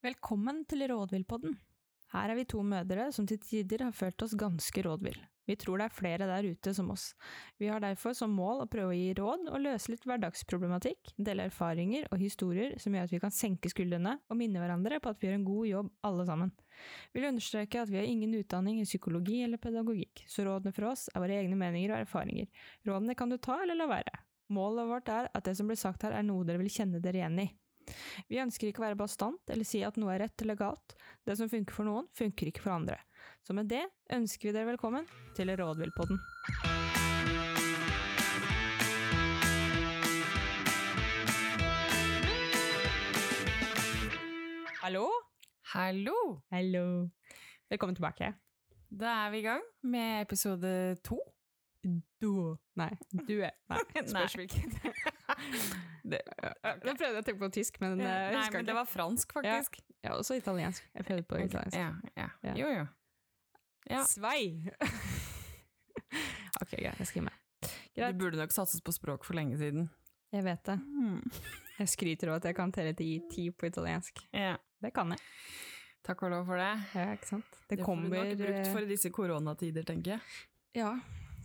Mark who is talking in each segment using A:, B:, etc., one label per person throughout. A: Velkommen til Rådvillpodden. Her er vi to mødre som til tider har følt oss ganske rådvill. Vi tror det er flere der ute som oss. Vi har derfor som mål å prøve å gi råd og løse litt hverdagsproblematikk, dele erfaringer og historier som gjør at vi kan senke skuldrene og minne hverandre på at vi gjør en god jobb alle sammen. Vi vil understreke at vi har ingen utdanning i psykologi eller pedagogikk, så rådene fra oss er våre egne meninger og erfaringer. Rådene kan du ta eller la være. Målet vårt er at det som blir sagt her er noe dere vil kjenne dere igjen i. Vi ønsker ikke å være bastant eller si at noe er rett eller galt. Det som funker for noen, funker ikke for andre. Så med det ønsker vi dere velkommen til Rådvillpodden. Hallo?
B: Hallo!
A: Hallo. Velkommen tilbake.
B: Da er vi i gang med episode to.
A: Du. Nei, du er Nei, spørs
B: Nei.
A: hvilken. Det- Nå prøvde jeg å tenke på tysk, men eh, jeg
B: Nei,
A: husker
B: men det
A: ikke.
B: var fransk, faktisk.
A: Ja, også italiensk. Jeg prøvde på
B: Ok,
A: italiensk.
B: Ja, ja.
A: Ja.
B: Jo, jo. Ja.
A: Svei! ok, greit. Jeg skriver med. Greit.
B: Det burde nok satses på språk for lenge siden.
A: Jeg vet det.
B: Mm.
A: Jeg skryter av at jeg kan telle til ti på italiensk.
B: Ja.
A: Det kan jeg.
B: Takk og lov for det.
A: Ja, ikke sant? Det,
B: Det
A: kommer
B: får vi nok brukt
A: eh,
B: for disse koronatider, tenker jeg.
A: Ja.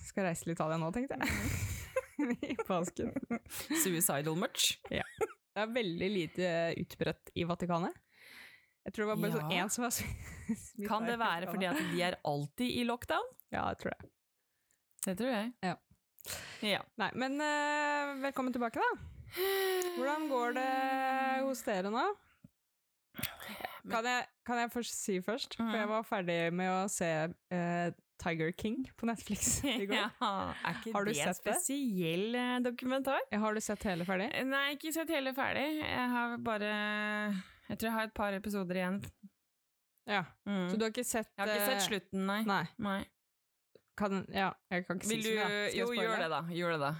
A: Skal reise til Italia nå, tenkte
B: Mhm.
A: jeg. I påsken.
B: Suicidal much.
A: Det er veldig lite utbredt i Vatikanet. Jeg tror det var bare sånn
B: Ja.
A: én som var smitta.
B: Kan det være fordi at de er alltid i lockdown?
A: Ja, jeg tror det.
B: Det tror jeg.
A: Ja.
B: Ja.
A: Nei, men eh, velkommen tilbake, da. Hvordan går det hos dere nå?
B: Eh,
A: Kan jeg, kan jeg først si først?
B: Mhm.
A: For jeg var ferdig med å se eh, Tiger King på Netflix i går.
B: Ja. Er ikke
A: Har du
B: det en
A: sett det?
B: spesiell eh, dokumentar?
A: Ja, Har du sett hele ferdig?
B: Nei, ikke sett hele ferdig. Jeg har bare Jeg tror jeg har et par episoder igjen.
A: Ja.
B: Mm.
A: Så du har ikke sett
B: Jeg har ikke
A: eh,
B: sett slutten, nei.
A: Nei.
B: nei.
A: Kan, ja, jeg kan ikke si
B: Vil du
A: så mye. da. Skal jeg
B: Jo,
A: spoile?
B: gjør det, da. Gjør det, da.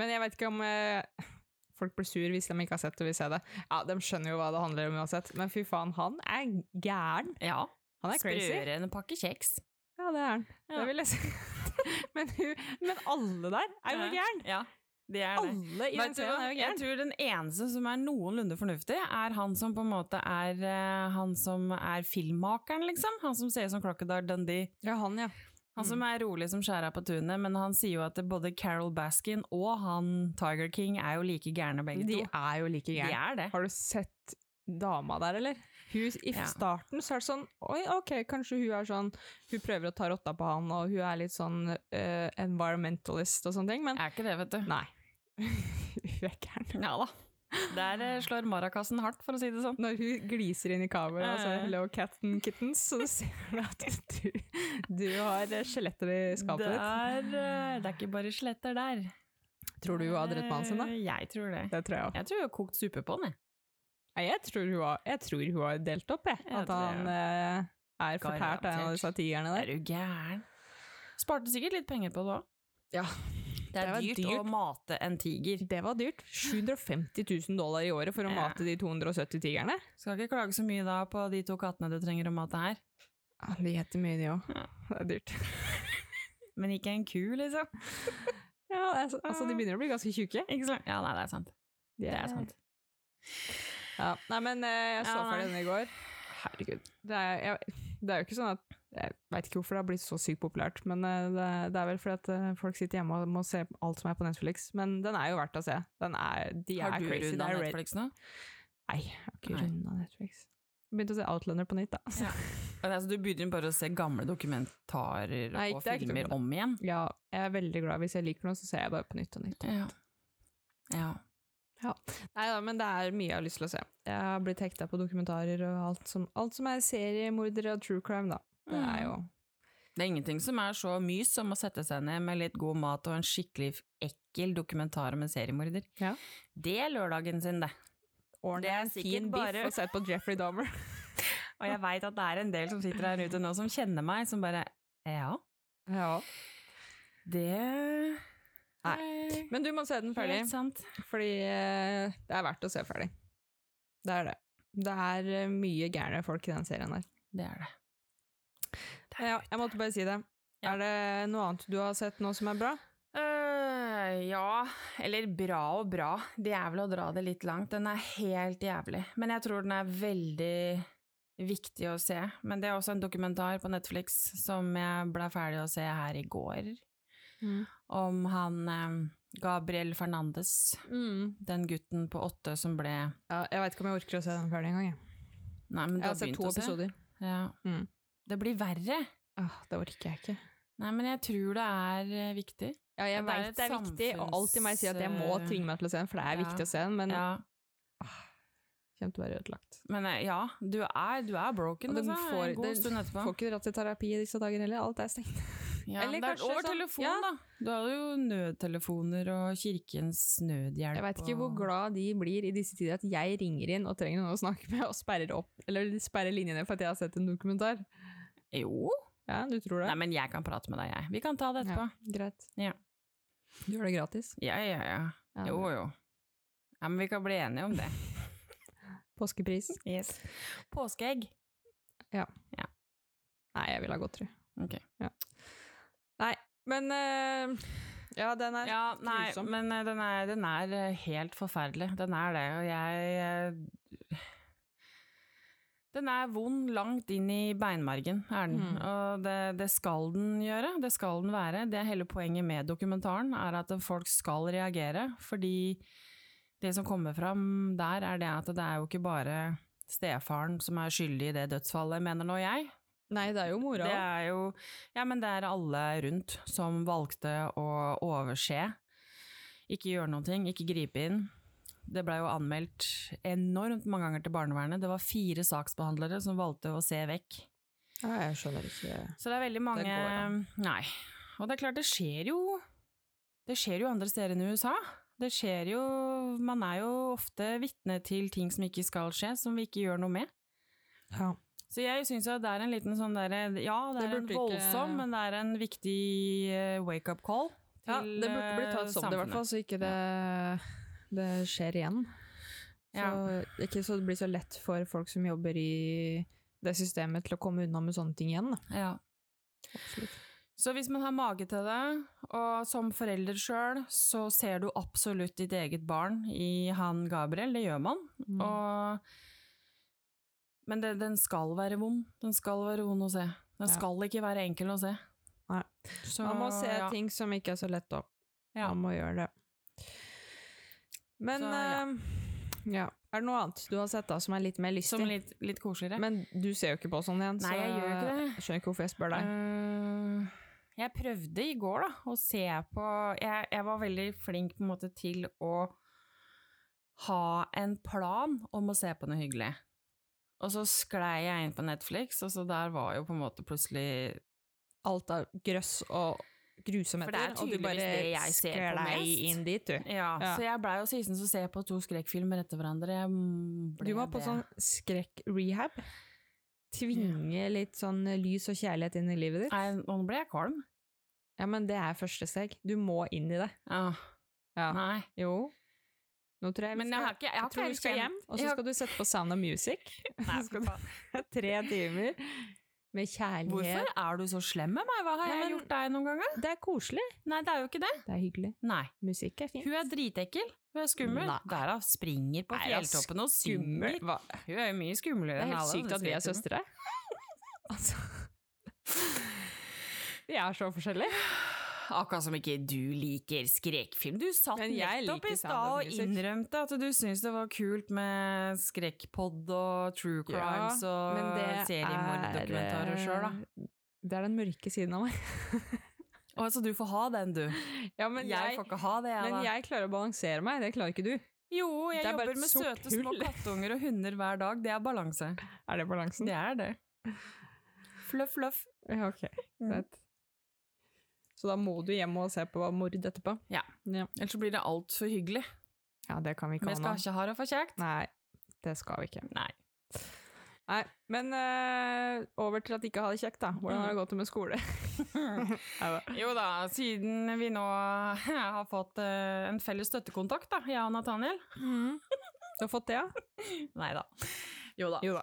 A: Men jeg vet ikke om eh, folk blir sur hvis de ikke har sett det og vil se det. Ja, De skjønner jo hva det handler om uansett, men fy faen, han er gæren.
B: Ja.
A: Han er crazy.
B: Sprøere enn en pakke kjeks.
A: Ja, det er han.
B: Ja.
A: Det vil jeg si. men, hun, men alle der er jo
B: Ja.
A: gæren.
B: Ja, det er det.
A: Alle i den
B: Vet du
A: serien
B: hva?
A: er jo
B: Jeg
A: gæren.
B: tror den eneste som er noenlunde fornuftig, er han som på en måte er eh, han som er filmmakeren, liksom. Han som ser ut som Crocodile Dundee.
A: Ja, han, ja.
B: Han som
A: Mm.
B: er rolig som skjæra på tunet, men han sier jo at både Carol Baskin og han Tiger King er jo like gærne begge
A: De
B: to.
A: er jo like
B: De
A: gærne.
B: er det.
A: Har du sett dama der, eller? Hun, I
B: Ja.
A: starten så er det sånn Oi, ok, kanskje hun er sånn Hun prøver å ta rotta på han, og hun er litt sånn eh, environmentalist og sånne ting, men
B: Er ikke det, vet du.
A: nei. hun er gæren.
B: Ja da. Der eh, slår marakassen hardt, for å si det sånn.
A: Når hun gliser inn i kameraet og
B: Ja,
A: sier
B: ja.
A: 'hello, cat and kittens', så ser du at du, du har eh, skjeletter i skapet
B: det
A: ditt.
B: er, eh, det er ikke bare skjeletter der.
A: Tror du hun har drept mannen sin, da?
B: Eh, Jeg tror det.
A: Det tror jeg òg.
B: Jeg tror jeg har kokt suppe på den, jeg.
A: Nei, Jeg, tror hun har- jeg tror hun har delt opp, jeg.
B: Ja,
A: At
B: det tror
A: han
B: jeg
A: eh, er fortært av en av
B: Garantert.
A: disse tigerne der.
B: Er du gæren? Sparte sikkert litt penger på det òg.
A: Ja.
B: Det er
A: Det var
B: dyrt,
A: dyrt.
B: å mate en tiger.
A: Det var dyrt. 750 000 dollar i året for å
B: Ja.
A: mate de 270 tigrene.
B: Skal ikke klage så mye da på de to kattene du trenger å mate her.
A: Ja, de heter mye, de òg.
B: Ja.
A: Det er dyrt.
B: Men ikke en ku, liksom.
A: Ja, altså, altså, de begynner å bli ganske tjuke.
B: Ikke sant? Ja, nei, det er sant. Det er sant.
A: Ja. Nei, men eh, jeg så
B: Ja, nei.
A: ferdig den i går. Herregud. Det er, jeg, det er jo ikke sånn at Jeg veit ikke hvorfor det har blitt så sykt populært, men eh, det, det er vel fordi at eh, folk sitter hjemme og må se alt som er på Netflix. Men den er jo verdt å se. Den er, de
B: Har
A: er
B: du
A: crazy.
B: runda
A: Det er red-
B: Netflix nå?
A: Nei, jeg har ikke
B: Nei.
A: runda Netflix. Begynte å se Outlander på nytt, da.
B: Ja, altså, du begynner bare å se gamle dokumentarer
A: Nei,
B: og
A: det er ikke
B: filmer
A: dokumentar.
B: om igjen?
A: Ja, jeg er veldig glad hvis jeg liker noe, så ser jeg bare på nytt og nytt.
B: Ja. ja.
A: Nei da, men det er mye jeg har lyst til å se. Jeg har blitt hekta på dokumentarer og alt som, alt som er seriemordere og true crime, da. Det er jo
B: Det er ingenting som er så mys som å sette seg ned med litt god mat og en skikkelig f- ekkel dokumentar om en seriemorder.
A: Ja.
B: Det er lørdagen sin, det. Det
A: ordentlig
B: er
A: en
B: sikkert
A: fin
B: bare-
A: biff og sett på Jeffrey Dahmer.
B: Og jeg veit at det er en del som sitter her ute nå som kjenner meg, som bare Ja,
A: ja.
B: det
A: Nei. Men du må se den
B: er
A: ferdig,
B: Helt sant.
A: fordi eh, det er verdt å se ferdig. Det er det. Det er eh, mye gærne folk i den serien her.
B: Det er det.
A: Ja, jeg måtte bare si det.
B: Ja.
A: Er det noe annet du har sett nå som er bra?
B: Øh, Eh, ja, eller bra og bra. Det er vel å dra det litt langt. Den er helt jævlig. Men jeg tror den er veldig viktig å se. Men det er også en dokumentar på Netflix som jeg ble ferdig å se her i går,
A: Mm.
B: om han eh, Gabriel Fernandes,
A: Mm.
B: den gutten på åtte som ble
A: Ja, jeg veit ikke om jeg orker å se den ferdig engang. jeg.
B: Nei, men du
A: Jeg
B: har
A: har sett
B: begynt
A: altså, to
B: å se.
A: episoder.
B: Ja.
A: Mm.
B: Det blir verre.
A: Ah, det orker jeg ikke.
B: Nei, men jeg tror det er eh, viktig.
A: Ja, jeg
B: Ja, det er
A: vet
B: et
A: det er viktig, og alt i meg sier at jeg må
B: samfunns-
A: tvinge meg til å se den, for det er
B: Ja.
A: viktig å se den, men
B: Ja.
A: kommer til å være ødelagt.
B: Men eh, ja, du er, du er broken
A: Og den
B: altså,
A: får-
B: en god
A: den
B: stund etterpå.
A: Får ikke dratt til terapi i disse dager heller, alt er stengt.
B: Ja,
A: Eller
B: men det er
A: kanskje
B: over
A: sånn-
B: telefon,
A: ja.
B: da. Du hadde jo nødtelefoner og Kirkens nødhjelp.
A: Jeg veit ikke hvor
B: og-
A: glad de blir i disse tider at jeg ringer inn og trenger noen å snakke med, og sperrer opp, eller sperrer linjene for at jeg har sett en dokumentar.
B: Jo.
A: Ja, du tror det?
B: Nei, men jeg kan prate med deg, jeg. Vi kan ta det etterpå.
A: Greit.
B: Ja.
A: Du gjør det gratis?
B: Ja, ja, ja.
A: Ja,
B: Jo, jo. Ja, men vi kan bli enige om det.
A: Påskepris?
B: Påskeegg.
A: Nei, jeg vil ha godteri.
B: Ok.
A: Men eh, ja, den er
B: Ja, nei,
A: grusom.
B: men eh, den er, den er eh, helt forferdelig. Den er det, og jeg eh, Den er vond langt inn i beinmargen, er den.
A: Mm.
B: Og det, det skal den gjøre, det skal den være. Det er hele poenget med dokumentaren, er at folk skal reagere, fordi det som kommer fram der, er det at det er jo ikke bare stefaren som er skyldig i det dødsfallet, mener nå jeg.
A: Nei, det er jo mora.
B: Det
A: også.
B: er jo Ja, men det er alle rundt som valgte å overse. Ikke gjøre noen ting, ikke gripe inn. Det blei jo anmeldt enormt mange ganger til barnevernet. Det var fire saksbehandlere som valgte å se vekk.
A: Ja, jeg skjønner ikke
B: Så det er veldig mange
A: går an.
B: Nei. Og det er klart, det skjer jo Det skjer jo andre steder enn i USA. Det skjer jo Man er jo ofte vitne til ting som ikke skal skje, som vi ikke gjør noe med.
A: ja.
B: Så jeg syns jo at det er en liten sånn derre Ja,
A: Det
B: det er en
A: burde ikke-
B: voldsom, men det er en viktig eh, wake-up call til
A: Ja, det burde bli tatt
B: eh,
A: som det, i hvert fall, så ikke det, det skjer igjen. Så, Ikke så det blir så lett for folk som jobber i det systemet til å komme unna med sånne ting igjen. Da.
B: samfunnet. Ja. Så hvis man har mage til det, og som forelder sjøl, så ser du absolutt ditt eget barn i han Gabriel, det gjør man.
A: Mm.
B: Og Men det, den skal være vond. Den skal være vond å se.
A: Ja.
B: Den skal ikke være enkel å se.
A: Nei.
B: Så,
A: Man må se
B: ja.
A: ting som ikke er så lett opp.
B: Ja.
A: Man må gjøre det. Men
B: Så, ja.
A: eh, ja. Er det noe annet du har sett da som er litt mer lystig?
B: Som litt, litt koseligere.
A: Men du ser jo ikke på sånn igjen,
B: Nei,
A: så
B: jeg gjør ikke det.
A: jeg skjønner ikke hvorfor jeg spør deg.
B: Eh, jeg prøvde i går da, å se på jeg, jeg var veldig flink på en måte til å ha en plan om å se på noe hyggelig. Og så sklei jeg inn på Netflix, og så der var jo på en måte plutselig
A: Alt av grøss og grusomheter, og du
B: tydeligvis
A: bare
B: det jeg ser på
A: sklei
B: mest.
A: inn dit, du.
B: Ja,
A: Ja.
B: så jeg blei jo sisten som ser på to skrekkfilmer etter hverandre. Jeg mm, ble
A: Du må på
B: det.
A: sånn skrekk-rehab. Tvinge litt sånn lys og kjærlighet inn i livet ditt.
B: Nei, nå ble jeg kvalm.
A: Ja, men det er første steg. Du må inn i det.
B: Ah,
A: Ja.
B: Nei.
A: Jo. Nå tror jeg vi
B: Men jeg
A: skal,
B: har ikke Jeg har ikke
A: tror vi skal
B: erkjent-
A: hjem, og
B: jeg
A: så
B: har-
A: skal du sette på Sound of Music.
B: Nei,
A: Så skal
B: fy faen.
A: du Tre timer med kjærlighet.
B: Hvorfor er du så slem med meg? Hva har
A: Ja,
B: jeg
A: men-
B: gjort deg noen ganger?
A: Det er koselig.
B: Nei, det er jo ikke det.
A: Det er hyggelig.
B: Nei.
A: Musikk er fint.
B: Hun er dritekkel. Hun er skummel.
A: Nei.
B: Derav springer på
A: Nei, det er
B: fjelltoppen og synger.
A: Hva?
B: Hun er jo mye
A: Det
B: skumlere
A: er
B: enn
A: helt
B: alle.
A: sykt
B: det
A: at vi er
B: skal jeg
A: søstre. altså Vi er så forskjellige.
B: ikke- Akkurat som ikke du liker skrekkfilm. Du satt
A: Men jeg
B: nettopp
A: liker
B: i
A: Sound
B: stad
A: of
B: og
A: Music.
B: innrømte at du syntes det var kult med skrekkpod og true crimes
A: Men
B: og
A: det
B: seriemorddokumentarer sjøl, da.
A: eh, Det er den mørke siden av meg.
B: Å, så du får ha den, du.
A: Ja, men
B: eh, jeg,
A: jeg,
B: får ikke ha det, jeg,
A: men
B: da.
A: jeg klarer å balansere meg, det klarer ikke du.
B: jo, jeg
A: Det er bare
B: jobber
A: et
B: med
A: sort
B: søte små
A: hull.
B: kattunger og hunder hver dag. Det er balanse.
A: Er det balansen?
B: Det er det. Fluff, fluff.
A: Ja, ok. Greit. Så da må du hjem og se på mord etterpå?
B: Ja.
A: Ja,
B: Ellers så blir det altfor hyggelig.
A: Ja, det kan vi
B: Vi
A: ikke ha
B: skal
A: nå.
B: ikke ha det for kjekt.
A: Nei, det skal vi ikke.
B: Nei.
A: Nei, Men eh, over til at de ikke har det kjekt, da. Hvordan har det gått med skole? Er det-
B: Jo da, siden vi nå har fått eh, en
A: Mm.
B: felles støttekontakt, da, jeg og Nathaniel.
A: Du har fått det, ja?
B: Nei da. Jo da.
A: Jo da.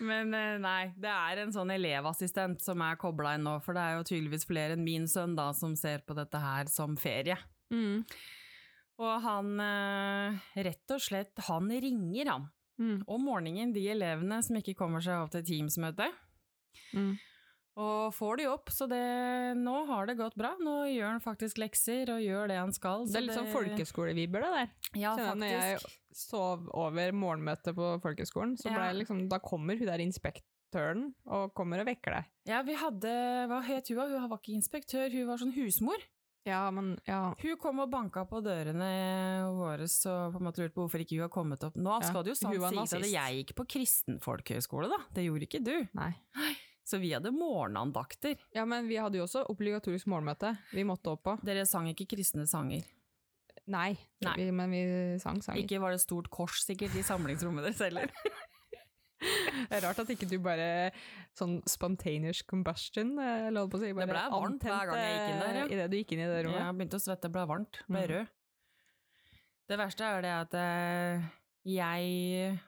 B: Men eh, nei, det er en sånn elevassistent som er kobla inn nå, for det er jo tydeligvis flere enn min sønn da som ser på dette her som ferie.
A: Mm.
B: Og han eh, rett og slett, han ringer han
A: Mm.
B: om morgenen, de elevene som ikke kommer seg opp til Teams-møtet,
A: Mm.
B: og får de opp, så det, nå har det gått bra. Nå gjør han faktisk lekser og gjør det han skal.
A: Det
B: så
A: er litt sånn folkeskolevibber, det der.
B: Ja,
A: Kjenner jeg når jeg-
B: faktisk.
A: sov over morgenmøtet på folkeskolen, så
B: Ja.
A: ble jeg liksom, da kommer hun der inspektøren og kommer og vekker deg.
B: Ja, vi hadde, hva het hun? da? Hun var ikke inspektør, hun var sånn husmor.
A: Ja, men ja.
B: Hun kom og banka på dørene våre og på en måte lurte på hvorfor ikke hun har kommet opp. Nå skal det jo sant
A: hun var
B: sies at
A: nazist.
B: jeg gikk på kristen folkehøyskole, da. Det gjorde ikke du.
A: Nei.
B: Så vi hadde morgenandakter.
A: Ja, men vi hadde jo også obligatorisk morgenmøte vi måtte opp på.
B: Dere sang ikke kristne sanger.
A: Nei,
B: Nei.
A: Vi, men vi sang sanger.
B: Ikke var det stort kors sikkert i samlingsrommet deres heller.
A: Det er rart at ikke du bare sånn spontaneous combustion, eh, eller holdt på å si, bare
B: ble varmt hver gang jeg gikk inn der, ja.
A: antente i det du gikk inn i det rommet.
B: Jeg begynte å svette, ble varmt, ble
A: Mm.
B: rød. Det verste er det at eh, jeg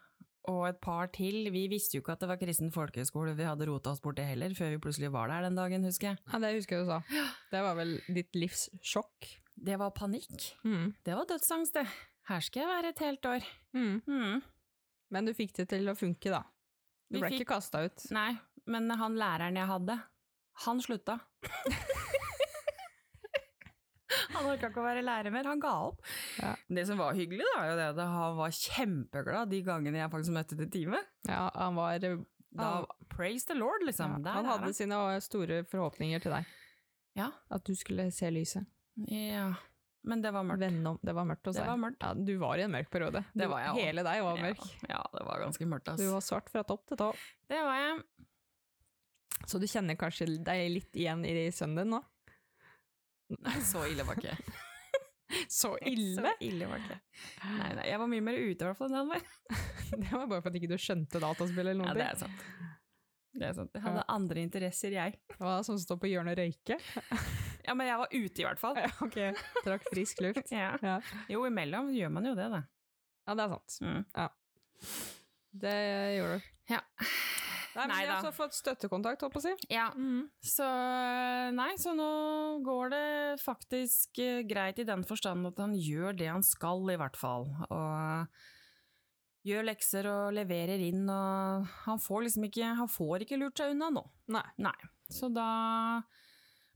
B: og et par til, vi visste jo ikke at det var kristen folkehøyskole vi hadde rota oss borti heller, før vi plutselig var der den dagen, husker jeg.
A: Ja, det husker jeg du sa. Det var vel ditt livs sjokk.
B: Det var panikk.
A: Mm.
B: Det var dødsangst, det. Her skal jeg være et helt år. Hmm,
A: Mm. Men du fikk det til å funke, da. Du
B: Vi
A: ble
B: fikk-
A: ikke kasta ut.
B: Nei, men han læreren jeg hadde, han slutta. han orka ikke å være lærer mer, han ga opp.
A: Ja.
B: Det som var hyggelig, da, er jo det at han var kjempeglad de gangene jeg faktisk møtte til time.
A: Ja, han var
B: Da,
A: Han-
B: praise the Lord, liksom.
A: Ja,
B: Der
A: han
B: er
A: hadde sine eh, store forhåpninger til deg.
B: Ja.
A: At du skulle se lyset.
B: Ja. Men det var mørkt.
A: Vende om. Det var mørkt hos
B: Det
A: deg.
B: var mørkt.
A: Ja, du var i en mørk periode.
B: Det
A: Du-
B: var jeg også.
A: Hele deg var mørk.
B: Ja, ja, det var ganske mørkt, ass.
A: Du var svart fra topp til tå.
B: Det var jeg.
A: Så du kjenner kanskje deg litt igjen i sønnen din nå?
B: Nei, så ille var ikke jeg.
A: Så ille!
B: Så ille var ikke jeg. Nei, nei, jeg var mye mer ute i hvert fall enn han var.
A: Det var bare for at ikke du skjønte dataspill eller
B: Ja,
A: noe.
B: det
A: Ja,
B: er sant. Det er sant. Jeg hadde andre interesser, jeg.
A: det var sånn som står på hjørnet og røyker.
B: Ja, men jeg var ute, i hvert fall.
A: Ja, ok. Trakk frisk luft.
B: Ja.
A: Ja.
B: Jo, imellom gjør man jo det, da.
A: Ja, det er sant.
B: Mm.
A: Det gjorde du.
B: Ja.
A: Nei, men jeg har
B: Neida.
A: også fått støttekontakt, holdt på å si.
B: Ja. Mm. Så eh, nei, så nå går det faktisk eh, greit i den forstand at han gjør det han skal, i hvert fall. Og gjør lekser og leverer inn, og han får liksom ikke Han får ikke lurt seg unna nå.
A: Nei.
B: Så da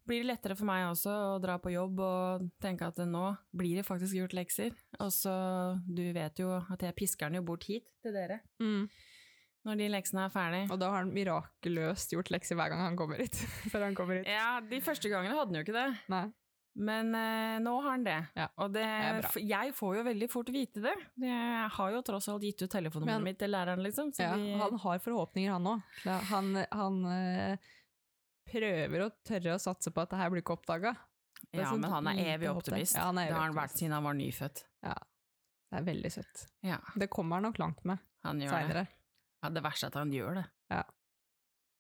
B: blir det lettere for meg også å dra på jobb og tenke at nå blir det faktisk gjort lekser. Og så, du vet jo at jeg pisker den jo bort hit til dere
A: Mm.
B: når de leksene er ferdig.
A: Og da har han mirakuløst gjort lekser hver gang han kommer hit. Før han kommer hit.
B: Ja, de første gangene hadde den jo ikke det,
A: Nei.
B: men eh, nå har den det.
A: Ja,
B: og det,
A: er bra.
B: f- jeg får jo veldig fort vite det. Jeg har jo tross alt gitt ut
A: Men-
B: telefonnummeret mitt til læreren, liksom. Så
A: Ja,
B: de,
A: han har forhåpninger, han òg. Han, han eh, prøver å tørre å satse på at det her blir ikke oppdaga. det er
B: ja,
A: sånn
B: men han er
A: lite
B: evig
A: håp der.
B: optimist.
A: Ja, han er evig
B: det har han
A: optimist.
B: vært siden han var nyfødt.
A: Det er veldig søtt.
B: Ja,
A: Det kommer han nok langt med
B: han gjør det.
A: seinere.
B: Ja, det verste er at han gjør det.
A: Ja. eh,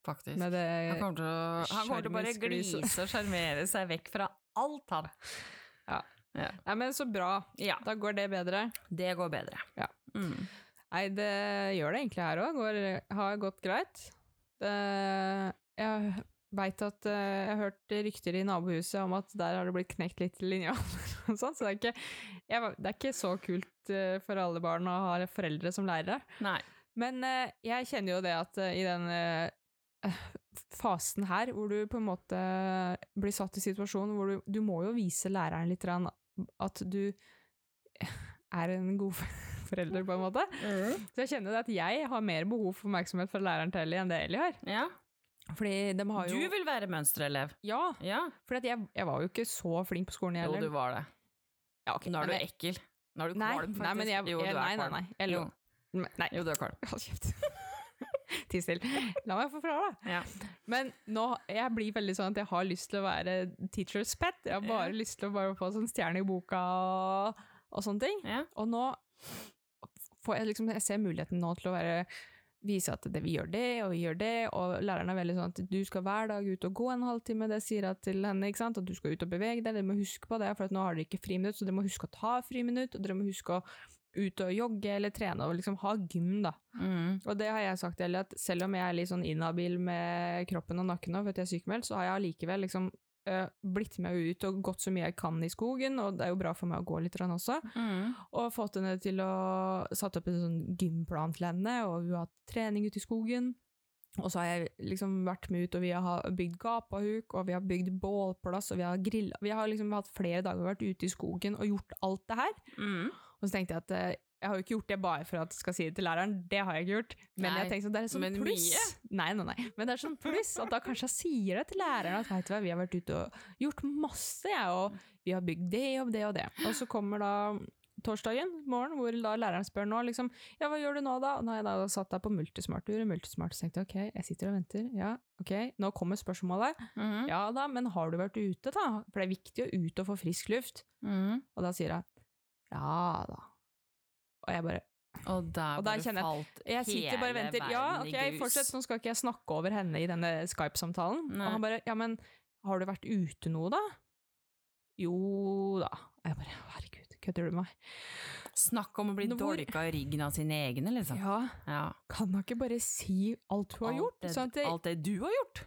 B: Faktisk.
A: Med det
B: Han kommer til å, han kommer til å bare
A: Sjarmisglise.
B: glise og sjarmere seg vekk fra alt, han.
A: Nei, men så bra.
B: Ja,
A: Da går det bedre.
B: det går bedre.
A: Ja.
B: Mm.
A: Nei, det gjør det egentlig her òg. Har gått greit. Det, jeg veit at eh, Jeg har hørt rykter i nabohuset om at der har det blitt knekt litt linjaler og sånn, så det er, ikke, jeg, var- det er ikke så kult eh, for alle barn å ha foreldre som lærere.
B: Nei.
A: Men eh, jeg kjenner jo det at eh, i den eh, fasen her, hvor du på en måte blir satt i situasjonen hvor du, du må jo vise læreren litt grann at du er en god forelder, på en måte. Så jeg kjenner det at jeg har mer behov for oppmerksomhet fra læreren til Ellie enn det Ellie har.
B: Ja.
A: Fordi de har
B: Du
A: jo...
B: vil være mønsterelev.
A: Ja,
B: Ja.
A: for jeg, jeg var jo ikke så flink på skolen. jeg
B: Jo,
A: heller.
B: du var det.
A: Ja, ok,
B: Nå er du
A: men jeg-
B: ekkel. Nå er du
A: Nei,
B: kvalm, faktisk.
A: nei, men jeg,
B: jo, du
A: jeg,
B: er
A: nei, nei,
B: kvalm.
A: nei. Eller,
B: Jo.
A: Men- Nei,
B: Jo, du er kvalm.
A: hold kjeft. Ti still. La meg forklare, da.
B: Ja.
A: Men nå, jeg blir veldig sånn at jeg har lyst til å være teacher's pet. Jeg har bare lyst til å bare få sånn stjerne i boka og, og sånne ting.
B: Ja.
A: Og nå får jeg liksom, jeg ser muligheten nå til å være vise at det, vi gjør det, og vi gjør det, og læreren er veldig sånn at du skal hver dag ut og gå en halvtime, det sier jeg til henne, ikke sant, at du skal ut og bevege deg, dere må huske på det, for at nå har dere ikke friminutt, så dere må huske å ta friminutt, og dere må huske å ut og jogge eller trene og liksom ha gym, da.
B: Mm.
A: Og det har jeg sagt til Ellie, at selv om jeg er litt sånn inhabil med kroppen og nakken nå, for at jeg er sykemeldt, så har jeg allikevel liksom øh, blitt med ut og gått så mye jeg kan i skogen, og det er jo bra for meg å gå litt grann også.
B: Mm.
A: Og fått henne til å satt opp en sånn gymplan til henne, og hun har hatt trening ute i skogen. Og så har jeg liksom vært med ut, og vi har bygd gapahuk, og vi har bygd bålplass, og vi har grilla. Vi har liksom hatt flere dager vært ute i skogen og gjort alt det her.
B: Mm.
A: Og så tenkte jeg at eh, jeg har jo ikke gjort det bare for at jeg skal si det til læreren, det har jeg ikke gjort. Men
B: Nei,
A: jeg tenkte at det er et
B: men
A: sånt pluss. Nei, nei, nei. Men det er sånn pluss at da kanskje jeg sier det til læreren at vet du hva, vi har vært ute og gjort masse, jeg, og vi har bygd det og det og det. Og så kommer da torsdagen morgen, hvor da læreren spør nå liksom, ja, hva gjør du nå da? Og da har jeg da satt deg på multismart-tur, og multismart så tenkte jeg, ok, jeg sitter og venter, ja, ok, nå kommer spørsmålet,
B: Mm.
A: ja da, men har du vært ute da? For det er viktig å ut og få frisk luft.
B: Mm.
A: Og da sier jeg ja da. Og jeg bare
B: Og der,
A: Og der
B: bare
A: kjenner jeg-
B: falt
A: Jeg sitter bare og
B: hele
A: venter. Ja,
B: verden i
A: ok, fortsett, nå skal ikke jeg snakke over henne i denne Skype-samtalen. Og
B: Nei.
A: han bare ja, men har du vært ute noe, da? Jo da. Og jeg bare herregud, kødder du med meg?
B: Snakk om å bli
A: Nå, hvor-
B: dolka i ryggen av sine egne, liksom.
A: Ja,
B: Ja.
A: kan da ikke bare si alt du har gjort?
B: Alt det,
A: sånn at jeg,
B: alt det du har gjort.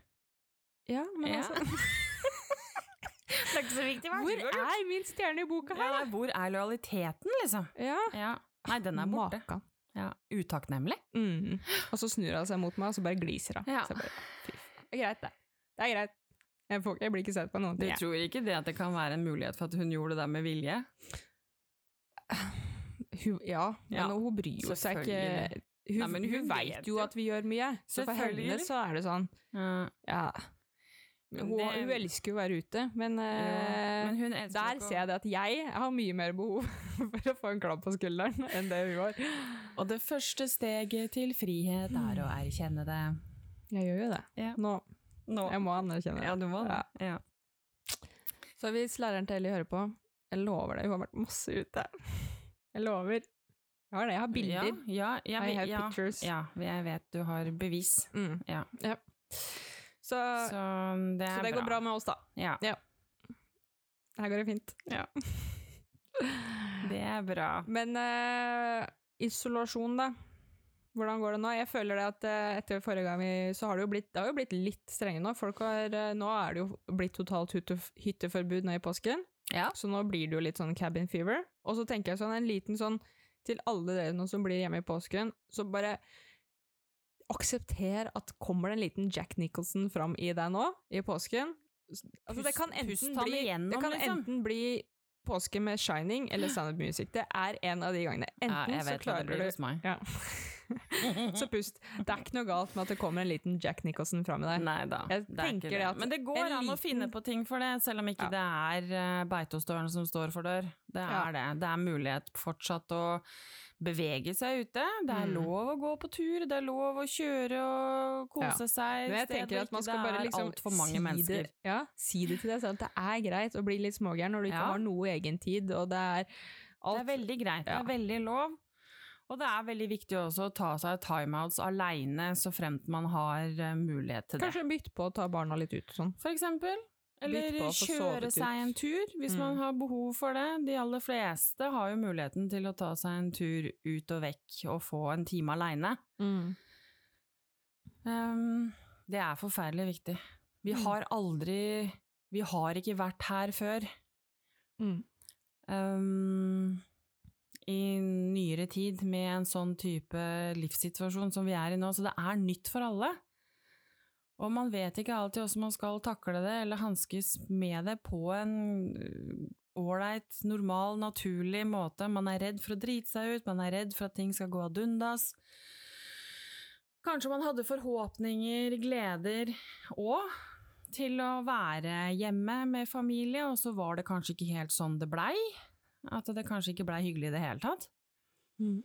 A: ja, men
B: Ja.
A: altså,
B: Det er ikke så viktig
A: hvor er min stjerne i boka
B: ja,
A: her?
B: nei, Hvor er lojaliteten, liksom?
A: Ja,
B: Ja. Nei, den er borte.
A: Makan.
B: Ja. Utakknemlig.
A: Mm. Og så snur han seg mot meg, og så bare gliser han.
B: Ja.
A: Så jeg bare, fy faen. Det er greit, det. Det er greit. Jeg, får, jeg blir ikke sett på noen
B: Du
A: ting. jeg.
B: tror ikke det at det kan være en mulighet for at hun gjorde det der med vilje?
A: Hun, ja, men
B: Ja,
A: hun bryr jo seg ikke
B: selvfølgelig.
A: Hun,
B: Nei, men
A: hun,
B: hun vet
A: vet jo
B: jo.
A: at vi gjør mye, så for henne
B: Selvfølgelig.
A: så er det sånn
B: Ja.
A: ja.
B: Men
A: hun,
B: det-
A: hun elsker jo å være ute, men, eh,
B: Men hun elsker
A: der
B: ikke å-
A: ser jeg det at jeg har mye mer behov for å få en klapp på skulderen enn det hun har.
B: Og det første steget til frihet er å erkjenne det.
A: Jeg gjør jo det.
B: Ja.
A: Nå,
B: Nå.
A: jeg må anerkjenne det.
B: Ja, du må det. Ja.
A: Så hvis læreren til Ellie hører på, jeg lover deg, hun har vært masse ute. Jeg lover. Jeg har det, jeg har bilder.
B: Ja, ja, ja,
A: I
B: vi-
A: have
B: ja,
A: pictures.
B: Ja, jeg vet du har bevis.
A: Mm.
B: Ja.
A: Så, så,
B: Så det
A: det
B: er
A: går bra med oss, da.
B: Ja,
A: Her går det fint.
B: det er bra.
A: Men eh, isolasjon, da. Hvordan går det nå? Jeg føler det at eh, etter forrige gang vi, så har det jo blitt, det har jo blitt litt strenge nå. Folk har, eh, nå er det jo blitt totalt hytte, hytteforbud nå i påsken.
B: Ja.
A: Så nå blir det jo litt sånn cabin fever. Og så tenker jeg sånn en liten sånn til alle dere nå som blir hjemme i påsken, så bare aksepter at kommer det en liten Jack Nicholson fram i deg nå i påsken. Altså, det kan
B: Pust-
A: enten
B: pust han
A: bli
B: igjennom,
A: det kan
B: liksom.
A: enten bli påske med Shining eller Sound of Music. Det er en av de gangene.
B: Ja,
A: Enten
B: jeg
A: så
B: vet hva det
A: klarer
B: blir
A: du
B: hos meg.
A: ja. Så pust. Det er ikke noe galt med at det kommer en liten Jack Nicholson fram i deg.
B: Nei da.
A: Jeg
B: det er
A: tenker
B: ikke
A: det at
B: Men det går
A: en
B: an å
A: liten-
B: finne på ting for det, selv om ikke
A: Ja.
B: det er eh, Beitostølen som står for dør. Det er
A: Ja.
B: det. Det er mulighet fortsatt å bevege seg ute. Det er
A: Mm.
B: lov å gå på tur, det er lov å kjøre og kose seg.
A: Men jeg tenker at man skal bare liksom
B: altfor mange
A: det,
B: mennesker.
A: ja, si det til deg selv at det er greit å bli litt smågæren når du ikke
B: Ja.
A: har noe egen tid, og det er
B: Det er
A: alt
B: veldig greit.
A: Ja.
B: Det er veldig lov. Og det er veldig viktig også å ta seg timeouts aleine, så fremt man har eh, mulighet til det.
A: Kanskje bytte på å ta barna litt ut og sånn.
B: for eksempel. Eller
A: Bytt på å få
B: kjøre
A: sovet
B: seg
A: ut.
B: en tur, hvis
A: Mm.
B: man har behov for det. De aller fleste har jo muligheten til å ta seg en tur ut og vekk og få en time aleine. Mm. Um, det er forferdelig viktig. Vi
A: Mm.
B: har aldri Vi har ikke vært her før.
A: Mm.
B: Um, I nyere tid med en sånn type livssituasjon som vi er i nå, så det er nytt for alle. Og man vet ikke alltid hvordan man skal takle det eller hanskes med det på en øh, ålreit, normal, naturlig måte. Man er redd for å drite seg ut, man er redd for at ting skal gå ad undas. Kanskje man hadde forhåpninger, gleder òg til å være hjemme med familie, og så var det kanskje ikke helt sånn det blei. At det kanskje ikke blei hyggelig i det hele tatt.
A: Mm.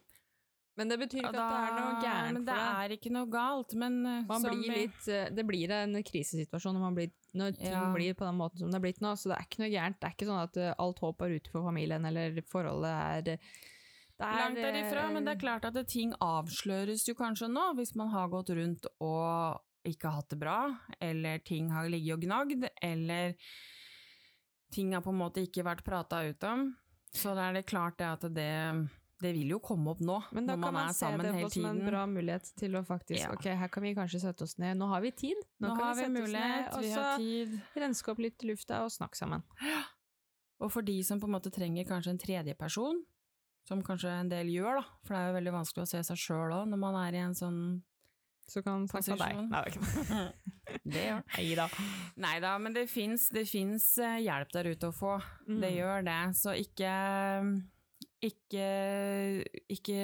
A: Men det betyr ikke at det er noe
B: men
A: gærent
B: det
A: for deg.
B: er ikke noe galt, men eh,
A: Man
B: som
A: blir
B: vi-
A: litt, eh, det blir en krisesituasjon når, man blir, når ting
B: Ja.
A: blir på den måten som det er blitt nå. Så det er ikke noe gærent. Det er ikke sånn at eh, alt håp er ute for familien, eller forholdet er eh, det er, eh,
B: Langt derifra, men det er klart at det, ting avsløres jo kanskje nå, hvis man har gått rundt og ikke hatt det bra, eller ting har ligget og gnagd, eller ting har på en måte ikke vært prata ut om. Så da er det klart det at det Det vil jo komme opp nå,
A: Men da
B: når
A: kan
B: man
A: man
B: er
A: se det
B: sammen
A: på
B: hele
A: som en
B: tiden.
A: bra mulighet til å faktisk
B: Ja.
A: Ok, her kan vi kanskje sette oss ned. Nå har vi tid. kan
B: Nå, har vi
A: sette oss ned,
B: mulighet, vi har tid.
A: Og så renske opp litt i lufta og snakke sammen.
B: Og for de som på en måte trenger kanskje en tredjeperson, som kanskje en del gjør, da, for det er jo veldig vanskelig å se seg sjøl òg når man er i en sånn
A: Så kan man snakke med deg.
B: Posisjon.
A: Nei, det er ikke det.
B: Det gjør
A: Neida.
B: Nei da, men det fins hjelp der ute å få.
A: Mm.
B: Det gjør det. Så ikke Ikke Ikke,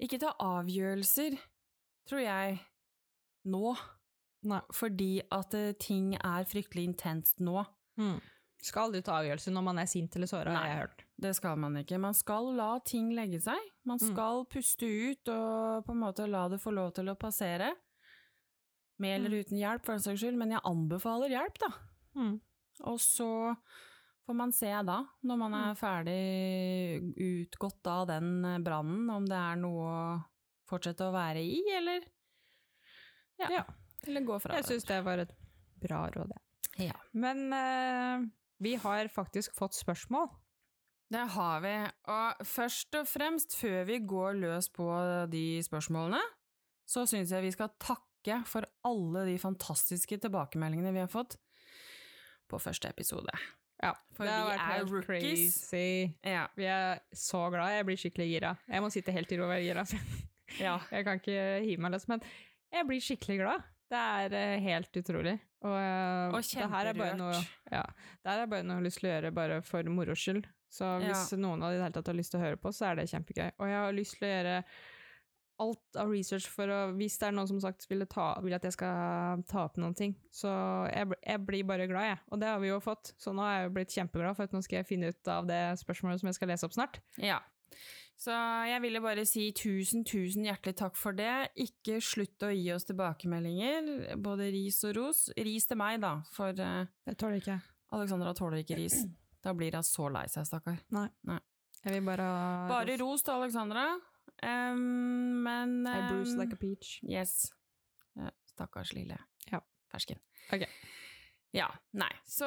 B: ikke ta avgjørelser, tror jeg, nå.
A: Nei.
B: Fordi at eh, ting er fryktelig intenst nå.
A: Mm. Skal aldri ta avgjørelse når man er sint eller såra, har
B: Nei.
A: jeg hørt.
B: Det skal man ikke. Man skal la ting legge seg. Man
A: Mm.
B: skal puste ut og på en måte la det få lov til å passere. Med eller uten hjelp, for den saks skyld, men jeg anbefaler hjelp, da.
A: Mm.
B: Og så får man se da, når man er ferdig utgått av den eh, brannen, om det er noe å fortsette å være i, eller ja,
A: Ja.
B: eller gå fra
A: Jeg syns det var et bra råd, jeg.
B: Ja.
A: Men eh, vi har faktisk fått spørsmål.
B: Det har vi. Og først og fremst, før vi går løs på de spørsmålene, så syns jeg vi skal takke for alle de fantastiske tilbakemeldingene vi har fått på første episode.
A: Ja,
B: For vi er
A: helt
B: rookies.
A: Crazy.
B: Ja.
A: Vi er så glad. Jeg blir skikkelig gira. Jeg må sitte helt i ro og være gira. så
B: ja.
A: Jeg kan ikke hive meg løs, men jeg blir skikkelig glad. Det er eh, helt utrolig. Og, eh,
B: Og
A: det her er bare
B: kjemperørt.
A: noe- Ja, det her er bare noe jeg har lyst til å gjøre bare for moro skyld. Så hvis noen av de i det hele tatt har lyst til å høre på, så er det kjempegøy. Og jeg har lyst til å gjøre alt av research for å Hvis det er noen som sagt vil, ta, vil at jeg skal ta opp noen ting, så jeg, bl- jeg blir bare glad, jeg. Og det har vi jo fått, så nå er jeg jo blitt kjempeglad for at nå skal jeg finne ut av det spørsmålet som jeg skal lese opp snart.
B: Ja. Så jeg ville bare si tusen, tusen hjertelig takk for det. Ikke slutt å gi oss tilbakemeldinger, både ris og ros. Ris til meg, da, for eh,
A: Jeg tåler ikke.
B: Alexandra tåler ikke ris. Da blir hun så lei seg, stakkar.
A: Jeg vil bare ha
B: Bare ros til Alexandra. Em, men
A: I bruise
B: em,
A: like a peach.
B: Yes. Ja, Stakkars lille
A: Ja.
B: fersken.
A: Ok.
B: Ja, nei. Så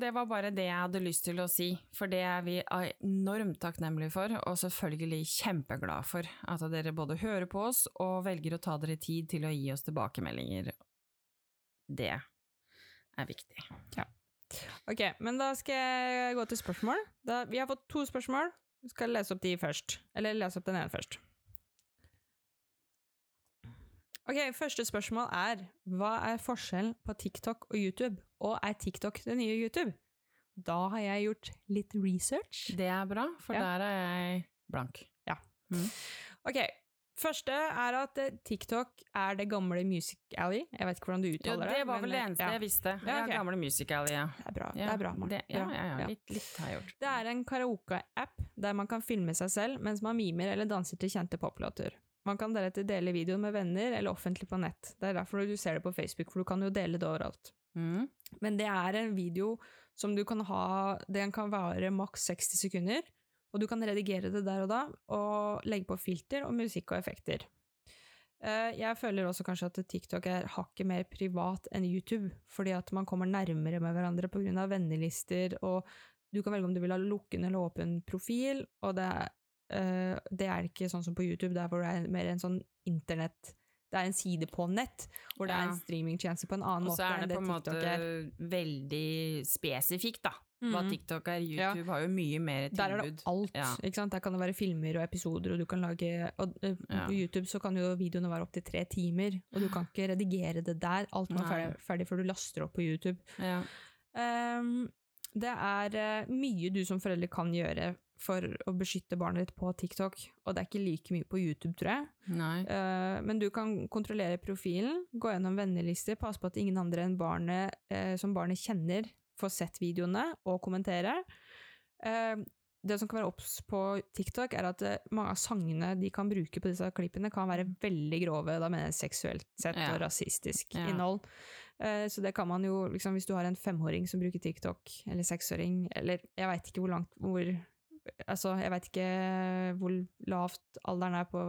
B: det var bare det jeg hadde lyst til å si, for det er vi enormt takknemlige for, og selvfølgelig kjempeglad for at dere både hører på oss og velger å ta dere tid til å gi oss tilbakemeldinger. Det er viktig.
A: Ok, men da skal jeg gå til spørsmål. Da, vi har fått to spørsmål. Vi skal lese opp de først. Eller lese opp den ene først. Ok, første spørsmål er Hva er forskjellen på TikTok og YouTube? Og er TikTok det nye YouTube? Da har jeg gjort litt research.
B: Det er bra, for
A: Ja.
B: der er jeg blank.
A: Ok, første er at eh, TikTok er det gamle Music Alley. Jeg vet ikke hvordan du
B: Jo,
A: uttaler det.
B: det var
A: men,
B: vel det
A: eh,
B: eneste
A: ja.
B: jeg visste.
A: Ja,
B: Ja,
A: ok.
B: Gamle musical, ja.
A: Det er bra,
B: Ja,
A: det er bra, Maren.
B: det- Ja, ja,
A: Ja.
B: ja. Litt, litt har jeg gjort.
A: Det er en karaoke-app der man kan filme seg selv mens man mimer eller danser til kjente poplåter. Man kan deretter dele videoen med venner eller offentlig på nett. Det er derfor du ser det på Facebook, for du kan jo dele det overalt.
B: Mm.
A: Men det er en video som du kan ha Den kan vare maks 60 sekunder, og du kan redigere det der og da, og legge på filter og musikk og effekter. Eh, Jeg føler også kanskje at TikTok er hakket mer privat enn YouTube, fordi at man kommer nærmere med hverandre pga. vennelister, og du kan velge om du vil ha lukken eller åpen profil, og det er, eh, det er ikke sånn som på YouTube, der hvor det er mer en sånn internett Det er en side på nett, hvor det er
B: Ja.
A: en streamingtjeneste på en annen
B: Og
A: måte
B: så er
A: enn
B: det
A: det
B: på en måte
A: TikTok er.
B: veldig spesifikt, da. Hva
A: Mhm.
B: TikTok er.
A: Ja.
B: YouTube har jo mye mer tilbud.
A: Der er det alt.
B: Ja.
A: Ikke sant? Der kan det være filmer og episoder, og du kan lage og, eh,
B: Ja.
A: På YouTube så kan jo videoene være opptil tre timer, og du kan ikke redigere det der. Alt må være
B: Nei.
A: ferdig, ferdig før du laster opp på YouTube.
B: Ja.
A: Ehm, det er eh, mye du som forelder kan gjøre for å beskytte barnet ditt på TikTok, og det er ikke like mye på YouTube, tror jeg.
B: Nei.
A: Eh, men du kan kontrollere profilen, gå gjennom vennelister, passe på at ingen andre enn barnet eh, som barnet kjenner, får sett videoene og kommentere. Eh, det som kan være obs på TikTok, er at eh, mange av sangene de kan bruke på disse klippene, kan være veldig grove, da mener jeg seksuelt sett,
B: Mm. Ja.
A: og rasistisk
B: Ja.
A: innhold. Eh, så det kan man jo, liksom, hvis du har en femåring som bruker TikTok, eller seksåring, eller jeg veit ikke hvor langt hvor, Altså, jeg veit ikke hvor lavt alderen er på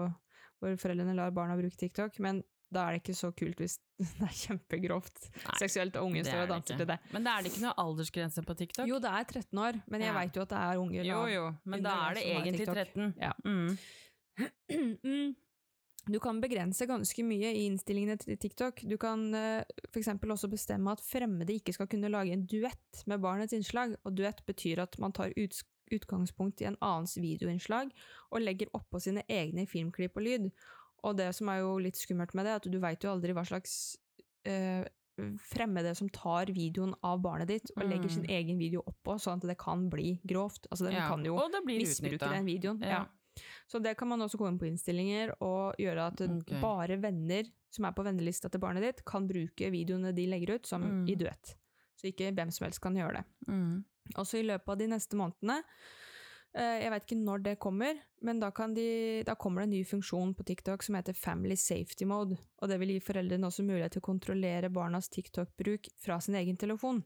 A: hvor foreldrene lar barna bruke TikTok, men Da er det ikke så kult hvis det er kjempegrovt seksuelt, og
B: det
A: unge
B: er
A: står
B: det
A: og danser
B: ikke.
A: til det.
B: Men da er det ikke noe aldersgrense på TikTok?
A: Jo, det er 13 år, men jeg
B: Ja.
A: veit jo at det er unger.
B: jo,
A: og-
B: jo, men da er det
A: Under jeg
B: egentlig
A: som har
B: 13.
A: Ja.
B: Mm.
A: Mm. Du kan begrense ganske mye i innstillingene til TikTok. Du kan f.eks. også bestemme at fremmede ikke skal kunne lage en duett med barnets innslag, og duett betyr at man tar uts- utgangspunkt i en annens videoinnslag og legger oppå sine egne filmklipp og lyd. Og det som er jo litt skummelt med det, er at du veit jo aldri hva slags eh, fremmede som tar videoen av barnet ditt og legger
B: Mm.
A: sin egen video oppå, sånn at det kan bli grovt. Altså, den
B: Ja.
A: kan jo
B: Og det blir
A: misbruke
B: utnytta.
A: den videoen. Ja.
B: Ja.
A: Så det kan man også gå inn på innstillinger og gjøre at
B: Ok.
A: bare venner som er på vennelista til barnet ditt, kan bruke videoene de legger ut som
B: Mm.
A: i duett. Så ikke hvem som helst kan gjøre det.
B: Mm.
A: Også i løpet av de neste månedene, eh, jeg vet ikke når det kommer, men da, kan de, da kommer det en ny funksjon på TikTok som heter Family Safety Mode, og det vil gi foreldrene også mulighet til å kontrollere barnas TikTok-bruk fra sin egen telefon.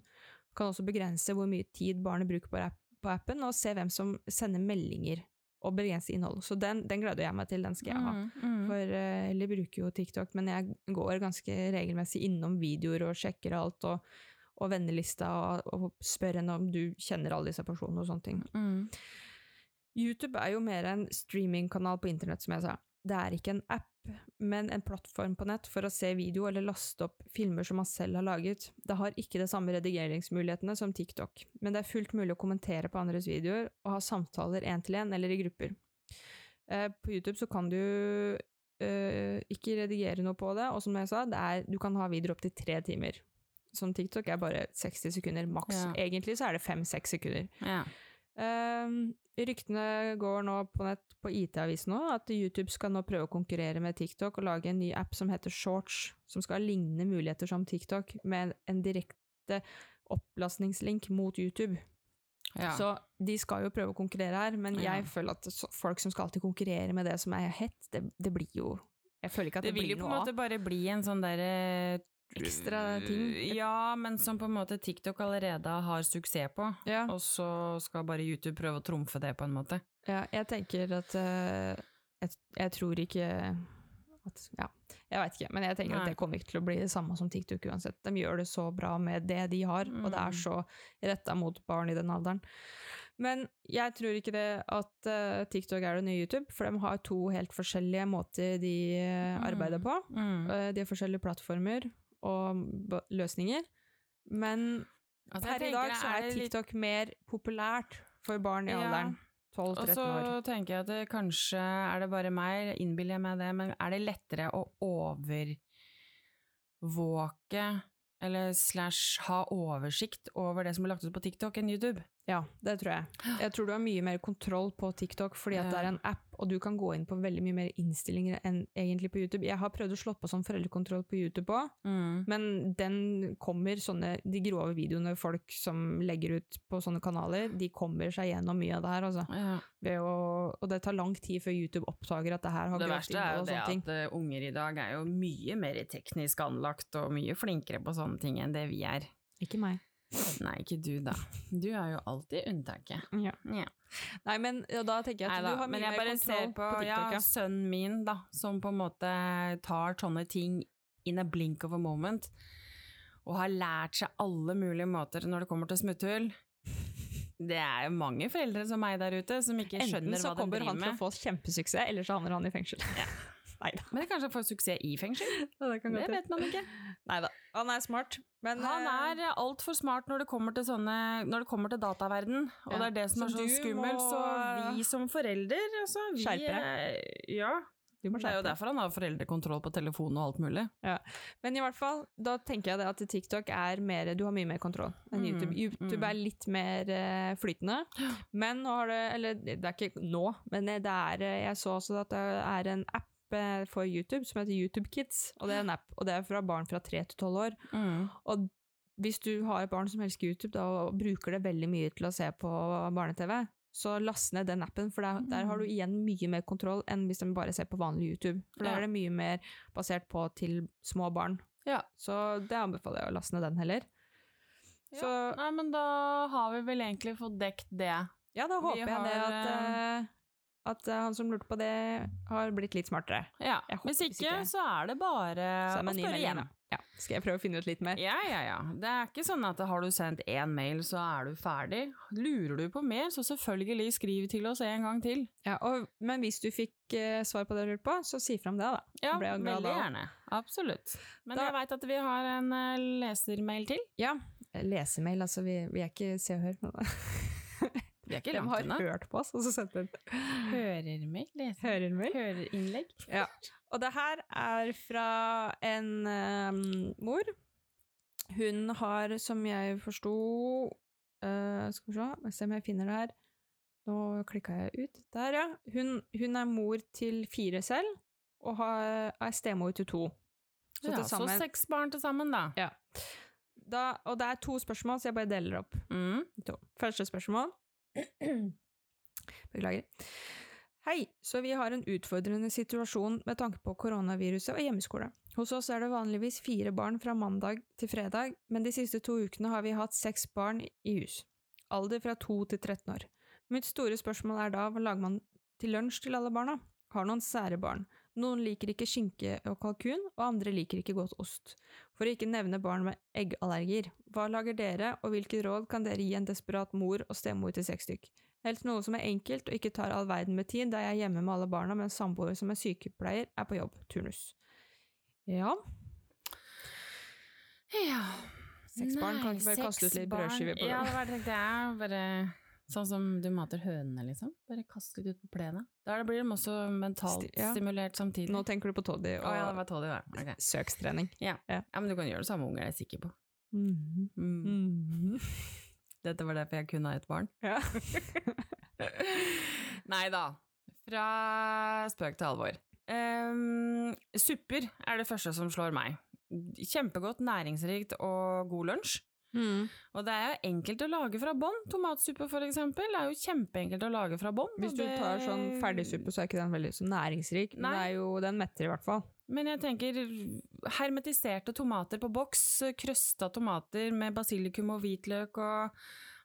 A: Kan også begrense hvor mye tid barnet bruker på, app på appen, og se hvem som sender meldinger og begrense innhold. Så den, den gleder jeg meg til, den skal jeg ha.
B: Mm, mm.
A: For eh, Ellie bruker jo TikTok, men jeg går ganske regelmessig innom videoer og sjekker alt, og, og vennelista, og, og spør henne om du kjenner alle disse personene og sånne ting.
B: Mm.
A: YouTube er jo mer en streamingkanal på internett, som jeg sa. Det er ikke en app, men en plattform på nett for å se video eller laste opp filmer som man selv har laget. Det har ikke de samme redigeringsmulighetene som TikTok, men det er fullt mulig å kommentere på andres videoer og ha samtaler én til én eller i grupper. Eh, på YouTube så kan du eh, ikke redigere noe på det, og som jeg sa, det er, du kan ha videoer opptil tre timer. Som TikTok er bare 60 sekunder maks.
B: Ja.
A: Egentlig så er det fem-seks sekunder.
B: Ja.
A: Ehm, ryktene går nå på nett på IT-avisen nå, at YouTube skal nå prøve å konkurrere med TikTok og lage en ny app som heter Shorts, som skal ha lignende muligheter som TikTok, med en, en direkte opplastningslink mot YouTube.
B: Ja.
A: Så de skal jo prøve å konkurrere her, men
B: Ja.
A: jeg føler at så, folk som skal alltid konkurrere med det som er hett, det, det blir jo Jeg føler ikke at
B: det
A: det,
B: vil jo
A: blir
B: på en
A: noe av.
B: måte bare bli en sånn derre
A: Ekstra ting.
B: Ja, men som på en måte TikTok allerede har suksess på.
A: Ja.
B: Og så skal bare YouTube prøve å trumfe det, på en måte.
A: Ja, jeg tenker at eh, jeg, jeg tror ikke at Ja, jeg veit ikke. Men jeg tenker
B: Nei.
A: at det kommer ikke til å bli det samme som TikTok uansett. De gjør det så bra med det de har, og det
B: Mm.
A: er så retta mot barn i den alderen. Men jeg tror ikke det at eh, TikTok er det nye YouTube, for de har to helt forskjellige måter de eh, arbeider
B: Mm.
A: på.
B: Mm.
A: Eh, de har forskjellige plattformer og b løsninger. Men
B: Altså, jeg
A: per i
B: tenker
A: dag så er
B: det litt-
A: TikTok mer populært for barn i
B: Ja.
A: alderen 12-13
B: Og så
A: år.
B: tenker jeg at det kanskje er det bare meg, innbiller jeg meg det, men er det lettere å overvåke eller slash ha oversikt over det som blir lagt ut på TikTok enn YouTube?
A: Ja, det tror jeg. Jeg tror du har mye mer kontroll på TikTok fordi at det er en app, og du kan gå inn på veldig mye mer innstillinger enn egentlig på YouTube. Jeg har prøvd å slå på sånn foreldrekontroll på YouTube òg,
B: Mm.
A: men den kommer sånne De grove videoene folk som legger ut på sånne kanaler, de kommer seg gjennom mye av det her, altså.
B: Ja.
A: Ved å, og det tar lang tid før YouTube oppdager at det her har
B: Det
A: grovt
B: verste er
A: innhold
B: jo
A: og
B: det
A: sånne ting.
B: at eh, unger i dag er jo mye mer teknisk anlagt og mye flinkere på sånne ting enn det vi er.
A: Ikke meg.
B: Nei, ikke du da. Du er jo alltid unntaket.
A: Ja.
B: Ja.
A: Nei, men ja, da tenker jeg at
B: Neida,
A: du har
B: men
A: mye
B: jeg
A: mer
B: bare ser
A: kontroll
B: på, ja,
A: TikTok. Ja.
B: sønnen min da, som på en måte tar sånne ting in a blink of a moment, og har lært seg alle mulige måter når det kommer til smutthull. Det er jo mange foreldre som meg der ute, som ikke
A: Enten
B: skjønner
A: så
B: hva de
A: kommer
B: driver
A: han til å
B: med.
A: få kjempesuksess, eller så havner han i fengsel. Nei da.
B: Men kanskje han får suksess i fengsel?
A: Det kan
B: Det vet man ikke.
A: Nei da. Han er smart, men
B: Han
A: eh,
B: er altfor smart når det kommer til, sånne, når det kommer til dataverden, og
A: Ja.
B: det er det
A: Så
B: som er så
A: du
B: skummelt.
A: må-
B: Så vi som forelder, altså vi,
A: Skjerpe deg.
B: eh, Ja,
A: du må
B: det er jo
A: skjerpe deg.
B: derfor han har foreldrekontroll på telefonen og alt mulig.
A: Men i hvert fall, da tenker jeg det at TikTok er mer Du har mye mer kontroll enn
B: Mm,
A: YouTube. YouTube
B: mm.
A: er litt mer eh, flytende. Men nå har det Eller det er ikke nå, men det er eh, Jeg så også at det er en app eh, for YouTube som heter YouTube Kids, og det er en app, og det er fra barn fra 3 til 12 år.
B: Mm.
A: Og hvis du har et barn som elsker YouTube da, og bruker det veldig mye til å se på barne-TV, så last ned den appen, for der, der
B: Mm.
A: har du igjen mye mer kontroll enn hvis de bare ser på vanlig YouTube. For
B: Ja.
A: der er det mye mer basert på til små barn.
B: Ja.
A: Så det anbefaler jeg å laste ned den heller.
B: Ja.
A: Så
B: Nei, men da har vi vel egentlig fått dekt det.
A: ja, da
B: Vi
A: håper jeg det
B: har,
A: at eh, at eh, han som lurte på det, har blitt litt smartere.
B: Ja.
A: Jeg håper
B: Hvis ikke,
A: ikke-
B: så er det bare
A: Så er det
B: å
A: en ny
B: spørre
A: melding,
B: igjen.
A: da. Ja. Skal jeg prøve å finne ut litt mer?
B: Ja, ja, ja. Det er ikke sånn at har du sendt én mail, så er du ferdig. Lurer du på mer, så selvfølgelig skriv til oss en gang til.
A: Ja, og, men hvis du fikk eh, svar på det du lurte på, så si fra om det, da.
B: Ja,
A: Ble jeg glad
B: veldig
A: da.
B: gjerne. Absolutt. Men
A: Da-
B: jeg veit at vi har en eh, lesermail til.
A: Lesemail, altså. Vi, vi er ikke Se og Hør.
B: Vi er ikke
A: De
B: langt
A: har
B: unna.
A: hørt på oss, og så sendt en
B: Hørermail? leser-
A: hørermail.
B: Hørerinnlegg?
A: Og det her er fra en eh, mor. Hun har, som jeg forsto eh, Skal vi se, må se om jeg finner det her. Nå klikka jeg ut. Der, ja. Hun, hun er mor til fire selv, og har, er stemor til to. Så
B: ja,
A: til sammen
B: Så seks barn til sammen, da.
A: Ja. Da, og det er to spørsmål, så jeg bare deler opp.
B: Mm.
A: To. Første spørsmål. Beklager. Hei, så vi har en utfordrende situasjon med tanke på koronaviruset og hjemmeskole. Hos oss er det vanligvis fire barn fra mandag til fredag, men de siste to ukene har vi hatt seks barn i hus. Alder fra 2 til 13 år. Mitt store spørsmål er da hva lager man til lunsj til alle barna? Har noen sære barn. Noen liker ikke skinke og kalkun, og andre liker ikke godt ost. For å ikke nevne barn med eggallergier. Hva lager dere, og hvilke råd kan dere gi en desperat mor og stemor til seks stykk? Helst noe som er enkelt og ikke tar all verden med tid, da jeg er hjemme med alle barna mens samboer som er sykepleier er på jobb, turnus. Ja,
B: Ja.
A: Seks barn, kan ikke bare
B: seks
A: kaste ut litt
B: barn.
A: brødskiver på
B: Ja,
A: dem?
B: det var det jeg tenkte jeg. Bare sånn som du mater hønene, liksom. Bare kast litt ut på plenen. Da blir de også mentalt
A: Sti- ja.
B: stimulert samtidig.
A: nå tenker du på Toddy
B: Å
A: og
B: ja, det var tålig, da. Ok.
A: søkstrening.
B: Ja, men du kan gjøre det samme unger, det er jeg sikker på. Mhm. Mm.
A: Mm.
B: Dette var derfor jeg kun har ett barn.
A: Ja.
B: Nei da. Fra spøk til alvor. Ehm, supper er det første som slår meg. Kjempegodt, næringsrikt og god lunsj. Og det er jo enkelt å lage fra bånn. Tomatsuppe for eksempel er jo kjempeenkelt å lage fra bånn.
A: Hvis
B: og
A: du
B: det-
A: tar sånn ferdigsuppe, så er ikke den veldig så næringsrik, men det
B: Nei.
A: er jo, den metter i hvert fall.
B: Men jeg tenker hermetiserte tomater på boks, krøsta tomater med basilikum og hvitløk og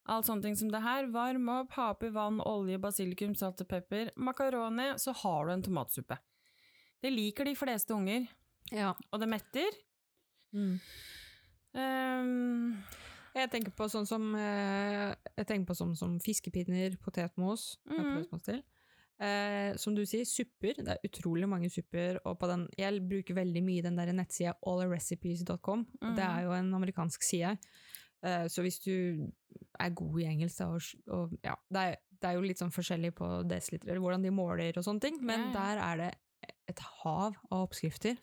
B: alt sånne ting som det her. Varm opp, ha oppi vann, olje, basilikum, salt og pepper, makaroni, så har du en tomatsuppe. Det liker de fleste unger,
A: Ja.
B: og det metter.
A: Mm.
B: Ehm,
A: Jeg tenker på sånn som, eh, jeg tenker på sånn som fiskepinner, potetmos, jeg har
B: Mhm.
A: prøvd meg til. Eh, som du sier, supper. Det er utrolig mange supper. Og på den, jeg bruker veldig mye den der nettsida allrecipes.com.
B: Mhm.
A: Det er jo en amerikansk side. Eh, så hvis du er god i engelsk da, og, s- og ja, det er, det er jo litt sånn forskjellig på desiliter, eller hvordan de måler og sånne ting, men
B: Ja, ja.
A: der er det et hav av oppskrifter.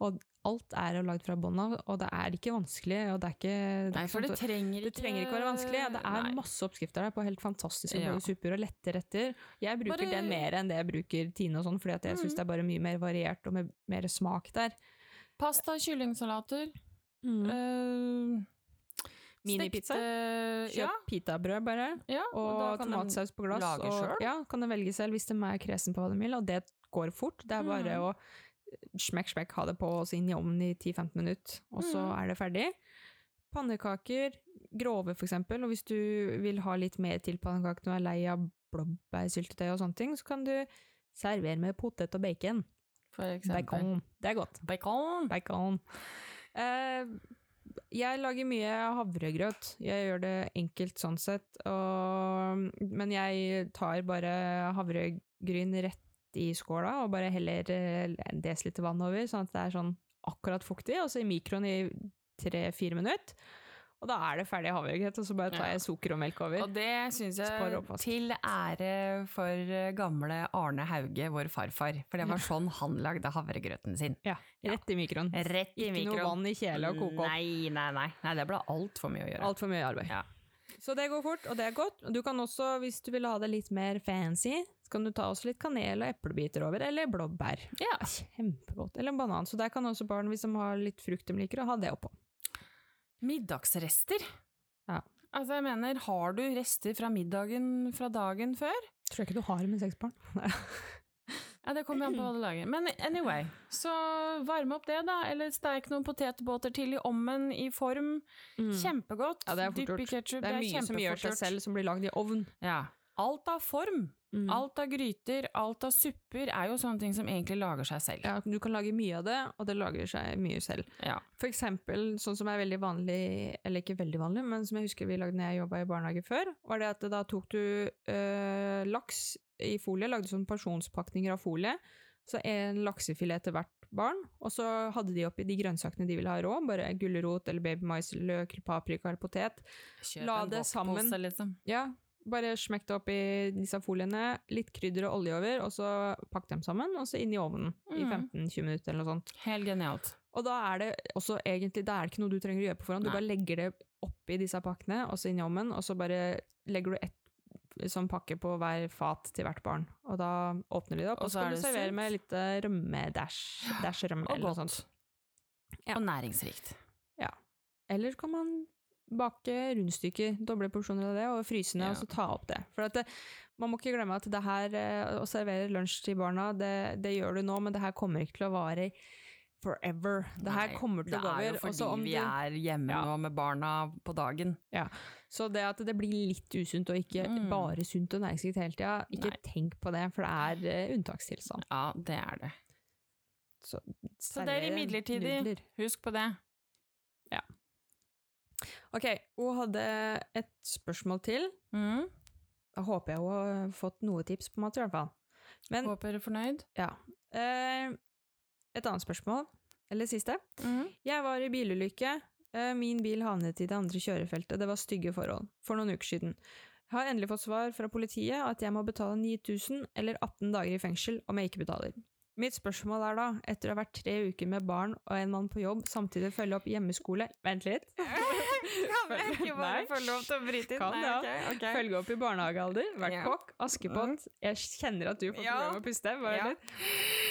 A: Og alt er jo lagd fra bånn av, og det er ikke vanskelig. Og det er ikke, det er
B: nei,
A: ikke
B: for
A: sånn
B: det
A: at-
B: trenger ikke
A: det trenger ikke være vanskelig. Det er
B: Nei.
A: masse oppskrifter der på helt fantastiske
B: Ja.
A: både supper og lette retter. Jeg bruker
B: Bare-
A: den mer enn det jeg bruker Tine og sånn, fordi at jeg syns
B: Mm.
A: det er bare mye mer variert og med mer smak der.
B: Pasta, kyllingsalater.
A: Eh,
B: ehm,
A: Minipizza?
B: stekte-
A: Kjøp
B: Ja,
A: pitabrød bare,
B: ja.
A: og,
B: da kan de-
A: tomatsaus på glass.
B: lage
A: og,
B: selv.
A: Ja, kan du velge selv hvis de er kresen på hva de vil, og det går fort. Det
B: Mm.
A: er bare å smekk, smekk, ha det på og så inn i ovnen i 10-15 minutter, og så
B: Mm.
A: er det ferdig. Pannekaker, grove for eksempel, og hvis du vil ha litt mer til pannekaker og er lei av blåbærsyltetøy og sånne ting, så kan du servere med potet og bacon.
B: For eksempel.
A: Bacon. Det er godt.
B: Bacon.
A: Bacon. Eh, jeg lager mye havregrøt. Jeg gjør det enkelt sånn sett. Og, men jeg tar bare havregryn rett i skåla og bare heller eh, en desiliter vann over, sånn at det er sånn akkurat fuktig, og så i mikroen i tre-fire minutter. Og da er det ferdig havregrøt, og så bare tar
B: Ja.
A: jeg sukker og melk over.
B: Og det syns
A: Spar
B: jeg
A: oppvask.
B: til ære for eh, gamle Arne Hauge, vår farfar. For det var sånn han lagde havregrøten sin.
A: Ja, rett i mikroen.
B: Rett i
A: Ikke noe
B: mikroen.
A: vann i kjele og koke opp.
B: Nei, nei, nei. nei det ble altfor mye å gjøre.
A: Altfor mye arbeid.
B: Ja.
A: Så det går fort, og det er godt. Og Du kan også, hvis du vil ha det litt mer fancy, så kan du ta også litt kanel og eplebiter over, eller blåbær.
B: Ja.
A: Kjempegodt. Eller en banan. Så der kan også barn, hvis de har litt frukt de liker, ha det oppå.
B: Middagsrester.
A: Ja.
B: Altså, jeg mener, har du rester fra middagen fra dagen før?
A: Tror jeg ikke du har med seks barn.
B: Ja, det kommer an på hva du lager. Men anyway, så varme opp det, da. Eller steik noen potetbåter til i ommen i form. Kjempegodt.
A: Ja, Mm. det er fort
B: Dypp i
A: gjort.
B: ketsjup.
A: Det er mye som gjør seg selv, som blir lagd i ovn.
B: Ja. Alt av form
A: Mm.
B: Alt av gryter, alt av supper er jo sånne ting som egentlig lager seg selv.
A: Ja, du kan lage mye av det, og det lager seg mye selv.
B: Ja.
A: For eksempel, sånn som er veldig vanlig, eller ikke veldig vanlig, men som jeg husker vi lagde når jeg jobba i barnehage før, var det at da tok du øh, laks i folie, lagde sånne pensjonspakninger av folie, så en laksefilet til hvert barn, og så hadde de oppi de grønnsakene de ville ha rå, bare gulrot eller babymais, løk, paprika eller potet.
B: Kjøp
A: La
B: en
A: det sammen.
B: wokpose, liksom.
A: Ja, bare smekk det oppi disse foliene, litt krydder og olje over, og så pakk dem sammen, og så inn i ovnen i
B: Mm.
A: 15-20 minutter eller noe sånt.
B: Helt genialt.
A: Og da er det også egentlig, da er det ikke noe du trenger å gjøre på forhånd. Du
B: Nei.
A: bare legger det oppi disse pakkene, og så inn i ovnen, og så bare legger du ett sånn pakke på hver fat til hvert barn. Og da åpner de det opp,
B: Og
A: og så
B: så er
A: kan du
B: det
A: servere
B: sunt.
A: med litt eh, rømme-dash. Dash-rømme
B: Og
A: eller noe
B: godt.
A: sånt. Ja.
B: Og næringsrikt.
A: Eller kan man bake rundstykker, doble porsjoner av det, og fryse ned,
B: Ja.
A: og så ta opp det. For at det, man må ikke glemme at det her, eh, å servere lunsj til barna, det, det gjør du nå, men det her kommer ikke til å vare forever. Det her
B: Nei,
A: kommer til å gå
B: Det er
A: over.
B: jo fordi
A: også om
B: vi
A: du-
B: er hjemme
A: Ja.
B: nå med barna på dagen.
A: Så det at det blir litt usunt, og ikke
B: Mm.
A: bare sunt og næringsrikt hele tida, ikke
B: Nei.
A: tenk på det, for det er eh, unntakstilstand.
B: Ja, det er det. Så det er
A: Servere
B: imidlertidig.
A: nudler.
B: Husk på det.
A: Ok, hun hadde et spørsmål til.
B: Mm.
A: Da håper jeg hun har fått noe tips på mat, i hvert fall. Men
B: Håper dere er fornøyd.
A: eh, et annet spørsmål, eller siste.
B: Mm.
A: Jeg var i bilulykke. Eh, Min bil havnet i det andre kjørefeltet. Det var stygge forhold. For noen uker siden. Jeg har endelig fått svar fra politiet at jeg må betale 9000 eller 18 dager i fengsel om jeg ikke betaler. Mitt spørsmål er da, etter å ha vært tre uker med barn og en mann på jobb, samtidig følge opp hjemmeskole Vent litt.
B: Kan
A: jeg ikke bare få lov til
B: å bryte
A: inn? Nei, Følge opp i barnehagaalder, vært
B: Ja. Mm.
A: kokk, askepott Jeg kjenner at du får
B: Ja.
A: problemer med å puste. Bare
B: Ja.
A: litt.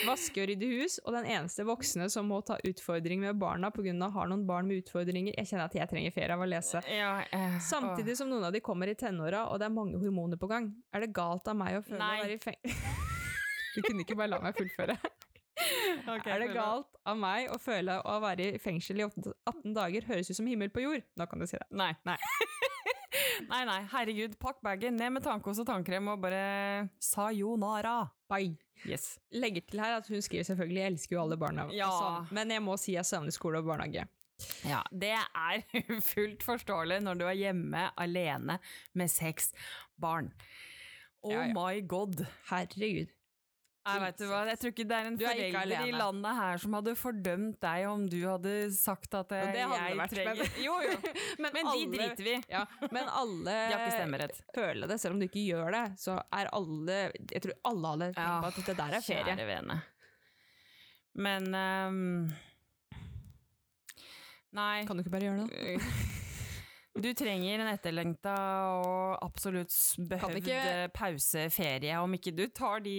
A: Vaske og rydde hus, og den eneste voksne som må ta utfordring med barna pga. har noen barn med utfordringer. Jeg kjenner at jeg trenger ferie av å lese.
B: Ja, eh,
A: Samtidig som noen av de kommer i tenåra, og det er mange hormoner på gang. Er det galt av meg å føle
B: Nei.
A: å være i feng... du kunne ikke bare la meg fullføre.
B: åh. Ok,
A: er det
B: følg opp.
A: galt av meg å føle å være i fengsel i 18 dager høres ut som himmel på jord? Nå kan du si det.
B: Nei. Nei. nei, nei. Herregud, pakk bagen, ned med tannkos og tannkrem og bare sayonara.
A: Bye.
B: Yes.
A: Legger til her at hun skriver selvfølgelig 'jeg elsker jo alle barna',
B: Ja.
A: sånn. men jeg må si jeg savner skole og barnehage.
B: Ja, det er fullt forståelig når du er hjemme alene med seks barn. Oh
A: Ja, ja.
B: my god.
A: Herregud.
B: Jeg, vet du hva, jeg tror ikke det er en
A: Du er ikke
B: forelder i
A: alene.
B: landet her som hadde fordømt deg om du hadde sagt at eh,
A: det
B: jeg
A: hadde det vært,
B: trenger
A: men-
B: Jo, jo. Men de
A: alle-
B: driter vi.
A: Ja, men
B: De har ikke
A: alle
B: stemmerett.
A: føler det, selv om du ikke gjør det, så er alle Jeg tror alle hadde tenkt på at det der er ferie.
B: Kjære vene. Men ehm, Nei.
A: Kan du ikke bare gjøre det?
B: Du trenger en etterlengta og absolutt behøvd
A: ikke-
B: pauseferie. Om ikke du tar de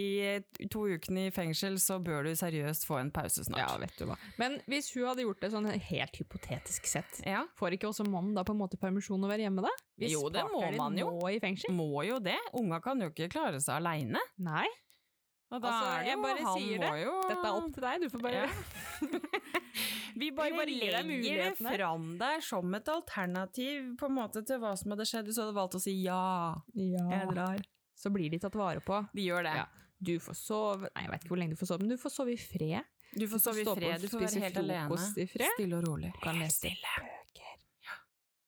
B: eh, to ukene i fengsel, så bør du seriøst få en pause
A: Ja,
B: snart.
A: vet du hva. Men hvis hun hadde gjort det sånn helt hypotetisk sett,
B: Ja,
A: får ikke også mannen da på en måte permisjon å være hjemme da? Hvis
B: Jo, det må
A: partneren din
B: man jo.
A: Må i fengsel?
B: må jo det. Unga kan jo ikke klare seg aleine.
A: Nei,
B: Og da
A: Altså,
B: er det
A: jeg
B: jo,
A: bare
B: han
A: sier
B: må jo
A: dette er opp til deg, du får bare
B: Ja. Vi bare,
A: Vi bare gir deg
B: legger det
A: muligheten her.
B: fram deg som et alternativ på en måte til hva som hadde skjedd. Hvis du hadde valgt å si ja, jeg drar.
A: Så blir de tatt vare på.
B: De gjør det.
A: Ja. Du får sove Nei, jeg vet ikke hvor lenge du får sove, men du får sove i fred.
B: Du får sove i
A: stå opp og
B: fred, du får
A: spise
B: være helt alene.
A: frokost i fred.
B: Stille og rolig.
A: Kan lese
B: Bøker.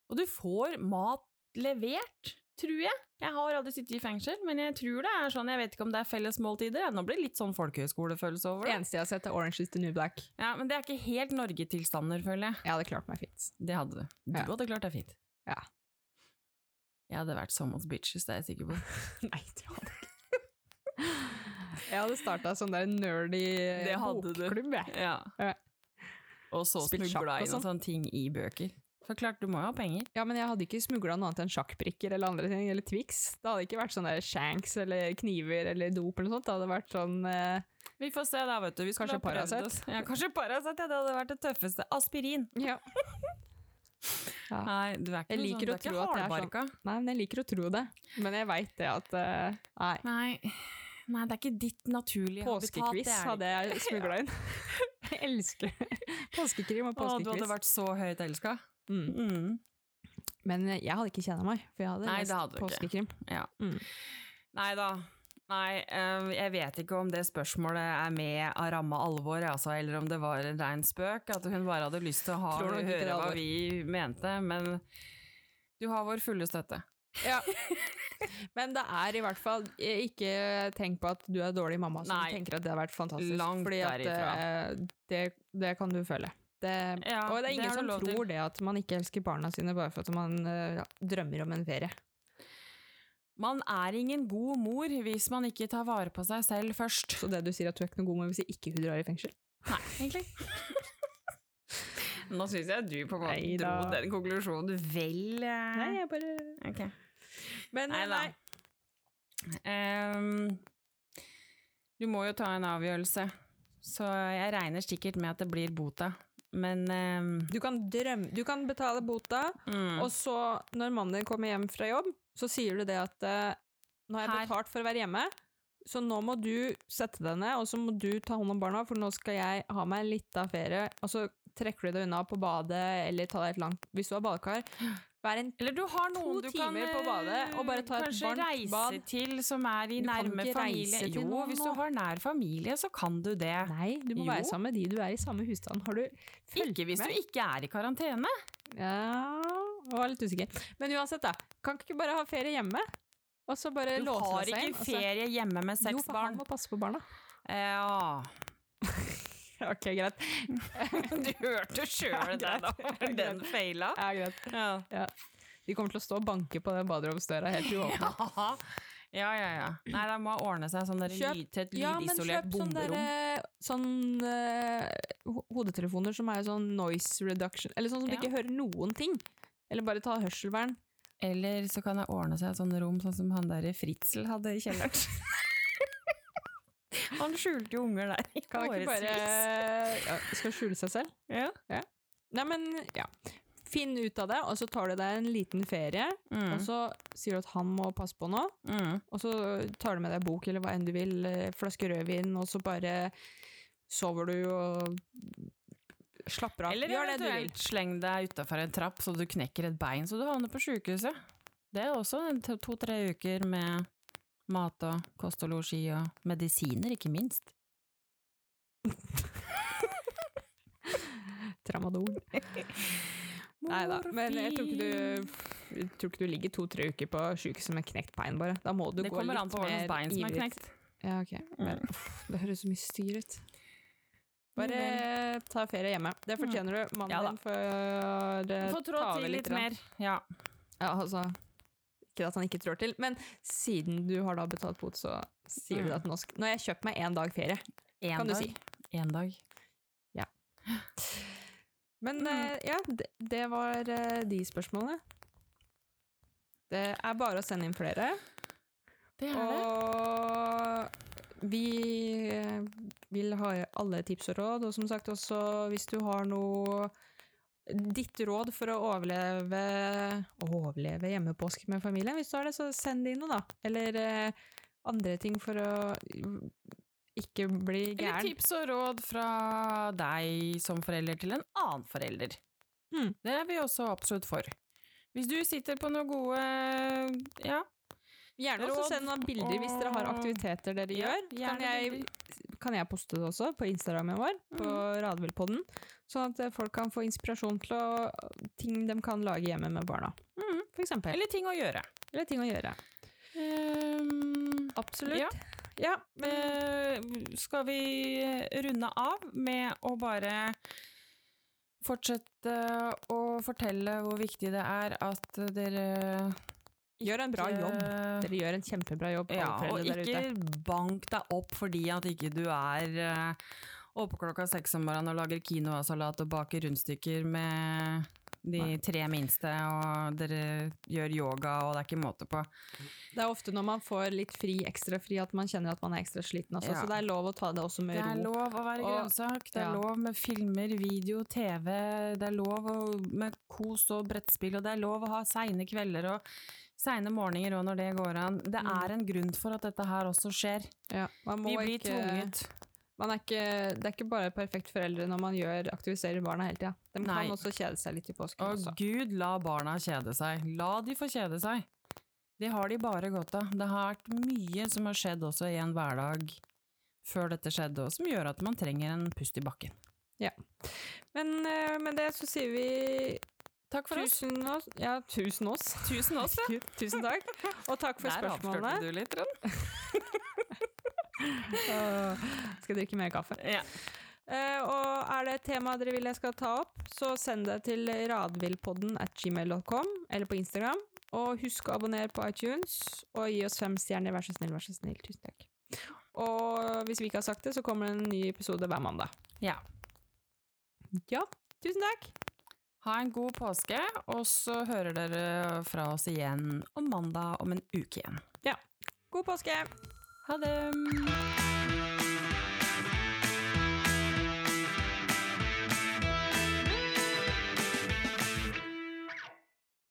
B: Og du får mat levert, tror jeg. Jeg har aldri sittet i fengsel, men jeg tror det er sånn, jeg vet ikke om det er fellesmåltider. jeg. Nå blir det litt sånn folkehøyskolefølelse over
A: Det
B: det.
A: eneste jeg har sett, er Orange is the New Black.
B: Ja, men det er ikke helt Norge-tilstander, føler jeg.
A: Jeg hadde klart meg fint.
B: Det hadde du. Du
A: Ja.
B: hadde klart deg fint.
A: Ja.
B: Jeg hadde vært someone's bitches, det er jeg sikker på.
A: Nei, det hadde jeg ikke. Jeg hadde starta sånn der nerdy
B: Det hadde du.
A: bokklubb, jeg.
B: Ja.
A: Ja.
B: Og så
A: Spilt sjakk
B: smugla
A: og sånn.
B: inn og sånne ting i bøker. For klart, du må jo ha penger.
A: Ja, men jeg hadde ikke smugla noe annet enn sjakkbrikker eller andre ting, eller Twix. Det hadde ikke vært sånn der shanks eller kniver eller dop eller noe sånt. Det hadde vært sånn eh,
B: Vi får se da, vet du. Vi skulle
A: Kanskje
B: ha prøvd
A: Paracet?
B: oss. Ja, kanskje Paracet, ja. Det hadde vært det tøffeste. Aspirin.
A: Ja. Ja.
B: Nei, du er ikke
A: Jeg
B: noe
A: liker
B: sånn,
A: å tro at det er sånn.
B: hardbarka.
A: Nei, men jeg liker å tro det. Men jeg veit det at eh, Nei.
B: Nei. Nei, det er ikke ditt naturlige
A: Påskekviss hadde jeg smugla inn. Jeg elsker påskekrim og
B: Å, du hadde
A: påskekviss.
B: vært så høyt elska.
A: Mm. Men jeg hadde ikke kjent meg, for jeg hadde
B: Nei, det
A: lest
B: hadde du ikke.
A: påskekrim.
B: Ja.
A: Mm.
B: Nei da. Nei, eh, jeg vet ikke om det spørsmålet er med av ramme alvor, altså, eller om det var en rein spøk, at hun bare hadde lyst til å ha,
A: Tror nok ikke det er
B: høre hva
A: alvor.
B: vi mente, men du har vår fulle støtte.
A: Ja. Men det er i hvert fall eh, Ikke tenk på at du er dårlig mamma som
B: Nei.
A: tenker at det har vært fantastisk.
B: Langt
A: fordi at
B: derifra.
A: eh, det, det kan du føle. Det,
B: Ja,
A: og det
B: det
A: er ingen
B: har du
A: som
B: lov til.
A: tror det at man ikke elsker barna sine bare for at man eh, ja, drømmer om en ferie.
B: Man er ingen god mor hvis man ikke tar vare på seg selv først.
A: Så det du sier at du er ikke noe god med hvis ikke hun drar i fengsel?
B: Nei, egentlig. Nå syns jeg du på en måte dro
A: Neida.
B: den konklusjonen vel eh.
A: Nei, jeg bare
B: Ok.
A: Men eh,
B: Neida.
A: nei.
B: Ehm, du må jo ta en avgjørelse, så jeg regner sikkert med at det blir bota. Men ehm,
A: Du kan, drømme, du kan betale bota,
B: mm,
A: og så, når mannen din kommer hjem fra jobb, så sier du det at eh, nå har jeg
B: Her.
A: betalt for å være hjemme, så nå må du sette deg ned, og så må du ta hånd om barna, for nå skal jeg ha meg en liten ferie, og så trekker du deg unna på badet, eller ta deg et langt Hvis du har badekar, vær en
B: Eller du har noen
A: to
B: du kan
A: timer på badet, eh, og bare ta et
B: eh, kanskje
A: varmt
B: reise
A: bad.
B: til som er i
A: Du kan
B: nærme
A: ikke
B: familie.
A: reise til
B: Jo,
A: noen
B: hvis
A: nå.
B: du har nær familie, så kan du det.
A: Nei, du må
B: Jo.
A: være sammen med de du er i samme husstand. Har du fulgt
B: Ikke hvis
A: med?
B: du ikke er i karantene.
A: Ja, jeg var litt usikker. Men uansett, da. Kan ikke bare ha ferie hjemme? Og så bare
B: Du
A: låse
B: har
A: deg
B: ikke
A: inn, og så-
B: ferie hjemme med
A: altså. Jo,
B: seks
A: for han
B: barn.
A: må passe på barna.
B: Ja,
A: Ok, greit.
B: du hørte sjøl det,
A: Ja,
B: da.
A: greit.
B: Den feila.
A: Ja, greit.
B: Ja.
A: De kommer til å stå og banke på den baderomsdøra helt uåpna.
B: Ja, ja, ja. ja. Nei, da må hun ordne seg sånn der
A: Kjøp-
B: lyd, til et
A: Ja, men
B: lydisolert
A: kjøp sånn
B: bomberom.
A: derre Sånn eh, ho- hodetelefoner som er sånn noise reduction Eller sånn som
B: Ja.
A: du ikke hører noen ting. Eller bare ta hørselvern.
B: Eller så kan hun ordne seg et sånn rom sånn som han derre Fritzel hadde i kjelleren. han skjulte jo unger der i
A: Kan man ikke bare ja, Skal skjule seg selv?
B: Ja.
A: Nei, men ja. Finn ut av det, og så tar du deg en liten ferie. Og
B: Mm.
A: så sier du at han må passe på nå,
B: Mm.
A: og så tar du med deg bok eller hva enn du vil, eh, flaske rødvin, og så bare sover du og slapper av.
B: Eller
A: Gjør det du vil.
B: eventuelt sleng deg utafor en trapp så du knekker et bein så du havner på sjukehuset. Det er også en to- to-tre uker med mat og kost og losji og medisiner, ikke minst.
A: Tramadol. Nei da, men jeg tror ikke du, jeg tror ikke du ligger to-tre uker på sjukehuset med knekt bein, bare. Da må du
B: Det
A: gå litt
B: kommer an på hva slags
A: mer
B: bein som er
A: ivrig. Mm.
B: knekt.
A: Ja, ok. Men, uff, det høres så mye styr ut. Bare ta ferie hjemme. Det fortjener du. Mannen
B: Mm. Ja da.
A: din får eh,
B: Få trå
A: ta over
B: til litt
A: grann.
B: mer. Ja.
A: Ja, altså Ikke at han ikke trår til, men siden du har da betalt bot, så sier du
B: Mm.
A: at nå sk- nå har jeg kjøpt meg én dag ferie,
B: En
A: kan du
B: dag.
A: si.
B: En dag.
A: Men
B: Mm.
A: eh, ja, det, det var eh, de spørsmålene. Det er bare å sende inn flere,
B: Det
A: og vi eh, vil ha alle tips og råd, og som sagt også hvis du har noe Ditt råd for å overleve Overleve hjemmepåske med familien? Hvis du har det, så send det inn noe, da. Eller eh, andre ting for å mm, ikke bli
B: Eller
A: gæren.
B: tips og råd fra deg som forelder til en annen forelder.
A: Mm.
B: Det er vi også absolutt for. Hvis du sitter på noe gode ja,
A: Gjerne også
B: råd
A: send noen bilder hvis dere har
B: og-
A: aktiviteter dere
B: ja,
A: gjør. Kan jeg,
B: bilder.
A: kan jeg poste det også på Instagrammen vår, på
B: Mm.
A: Radvillpodden, sånn at eh, folk kan få inspirasjon til å, ting de kan lage hjemme med barna,
B: Mm.
A: for eksempel.
B: Eller ting å gjøre.
A: Eller ting å gjøre.
B: Um,
A: Absolutt.
B: Ja.
A: Ehm, Ja,
B: Eh, skal vi runde av med å bare fortsette å fortelle hvor viktig det er at dere
A: gjør en bra jobb.
B: eh,
A: Dere gjør en kjempebra jobb, alle
B: Ja, og
A: foreldre der ute.
B: ikke bank deg opp fordi at ikke du er eh, oppe klokka seks om morgenen og lager quinoasalat og baker rundstykker med de
A: Nei.
B: tre minste, og dere gjør yoga, og det er ikke måte på.
A: Det er ofte når man får litt fri, ekstra fri, at man kjenner at man er ekstra sliten også,
B: Ja.
A: så det er lov å ta det også med
B: Det er
A: ro.
B: lov å være
A: Og-
B: grønnsak, det er
A: ja.
B: lov med filmer, video, TV, det er lov å- med kos og brettspill, og det er lov å ha seine kvelder og seine morgener òg når det går an. Det
A: Mm.
B: er en grunn for at dette her også skjer.
A: Ja, man må
B: Vi blir
A: ikke-
B: tvunget.
A: man er ikke, det er ikke bare perfekt foreldre når man gjør, aktiviserer barna hele tida. De kan
B: Nei.
A: også kjede seg litt i påsken.
B: Og
A: Også.
B: gud, la barna kjede seg. La de få kjede seg. Det har de bare godt av. Det har vært mye som har skjedd også i en hverdag før dette skjedde, og som gjør at man trenger en pust i bakken.
A: Men eh, med det så sier vi
B: Takk for oss.
A: tusen oss. Ja, tusen oss.
B: Tusen oss, ja.
A: Gud, Tusen takk. Og takk for
B: Der avslørte
A: spørsmålene.
B: du litt, Trond.
A: Åh, Skal drikke mer kaffe.
B: Ja.
A: Eh, og er det et tema dere vil jeg skal ta opp, så send det til radvillpodden at gmail.com eller på Instagram. Og husk å abonnere på iTunes og gi oss fem stjerner, vær så snill, vær så snill. Tusen takk. Og hvis vi ikke har sagt det, så kommer det en ny episode hver mandag.
B: ja.
A: Ja, tusen takk.
B: Ha en god påske, og så hører dere fra oss igjen om mandag om en uke igjen.
A: God påske!
B: Ha det!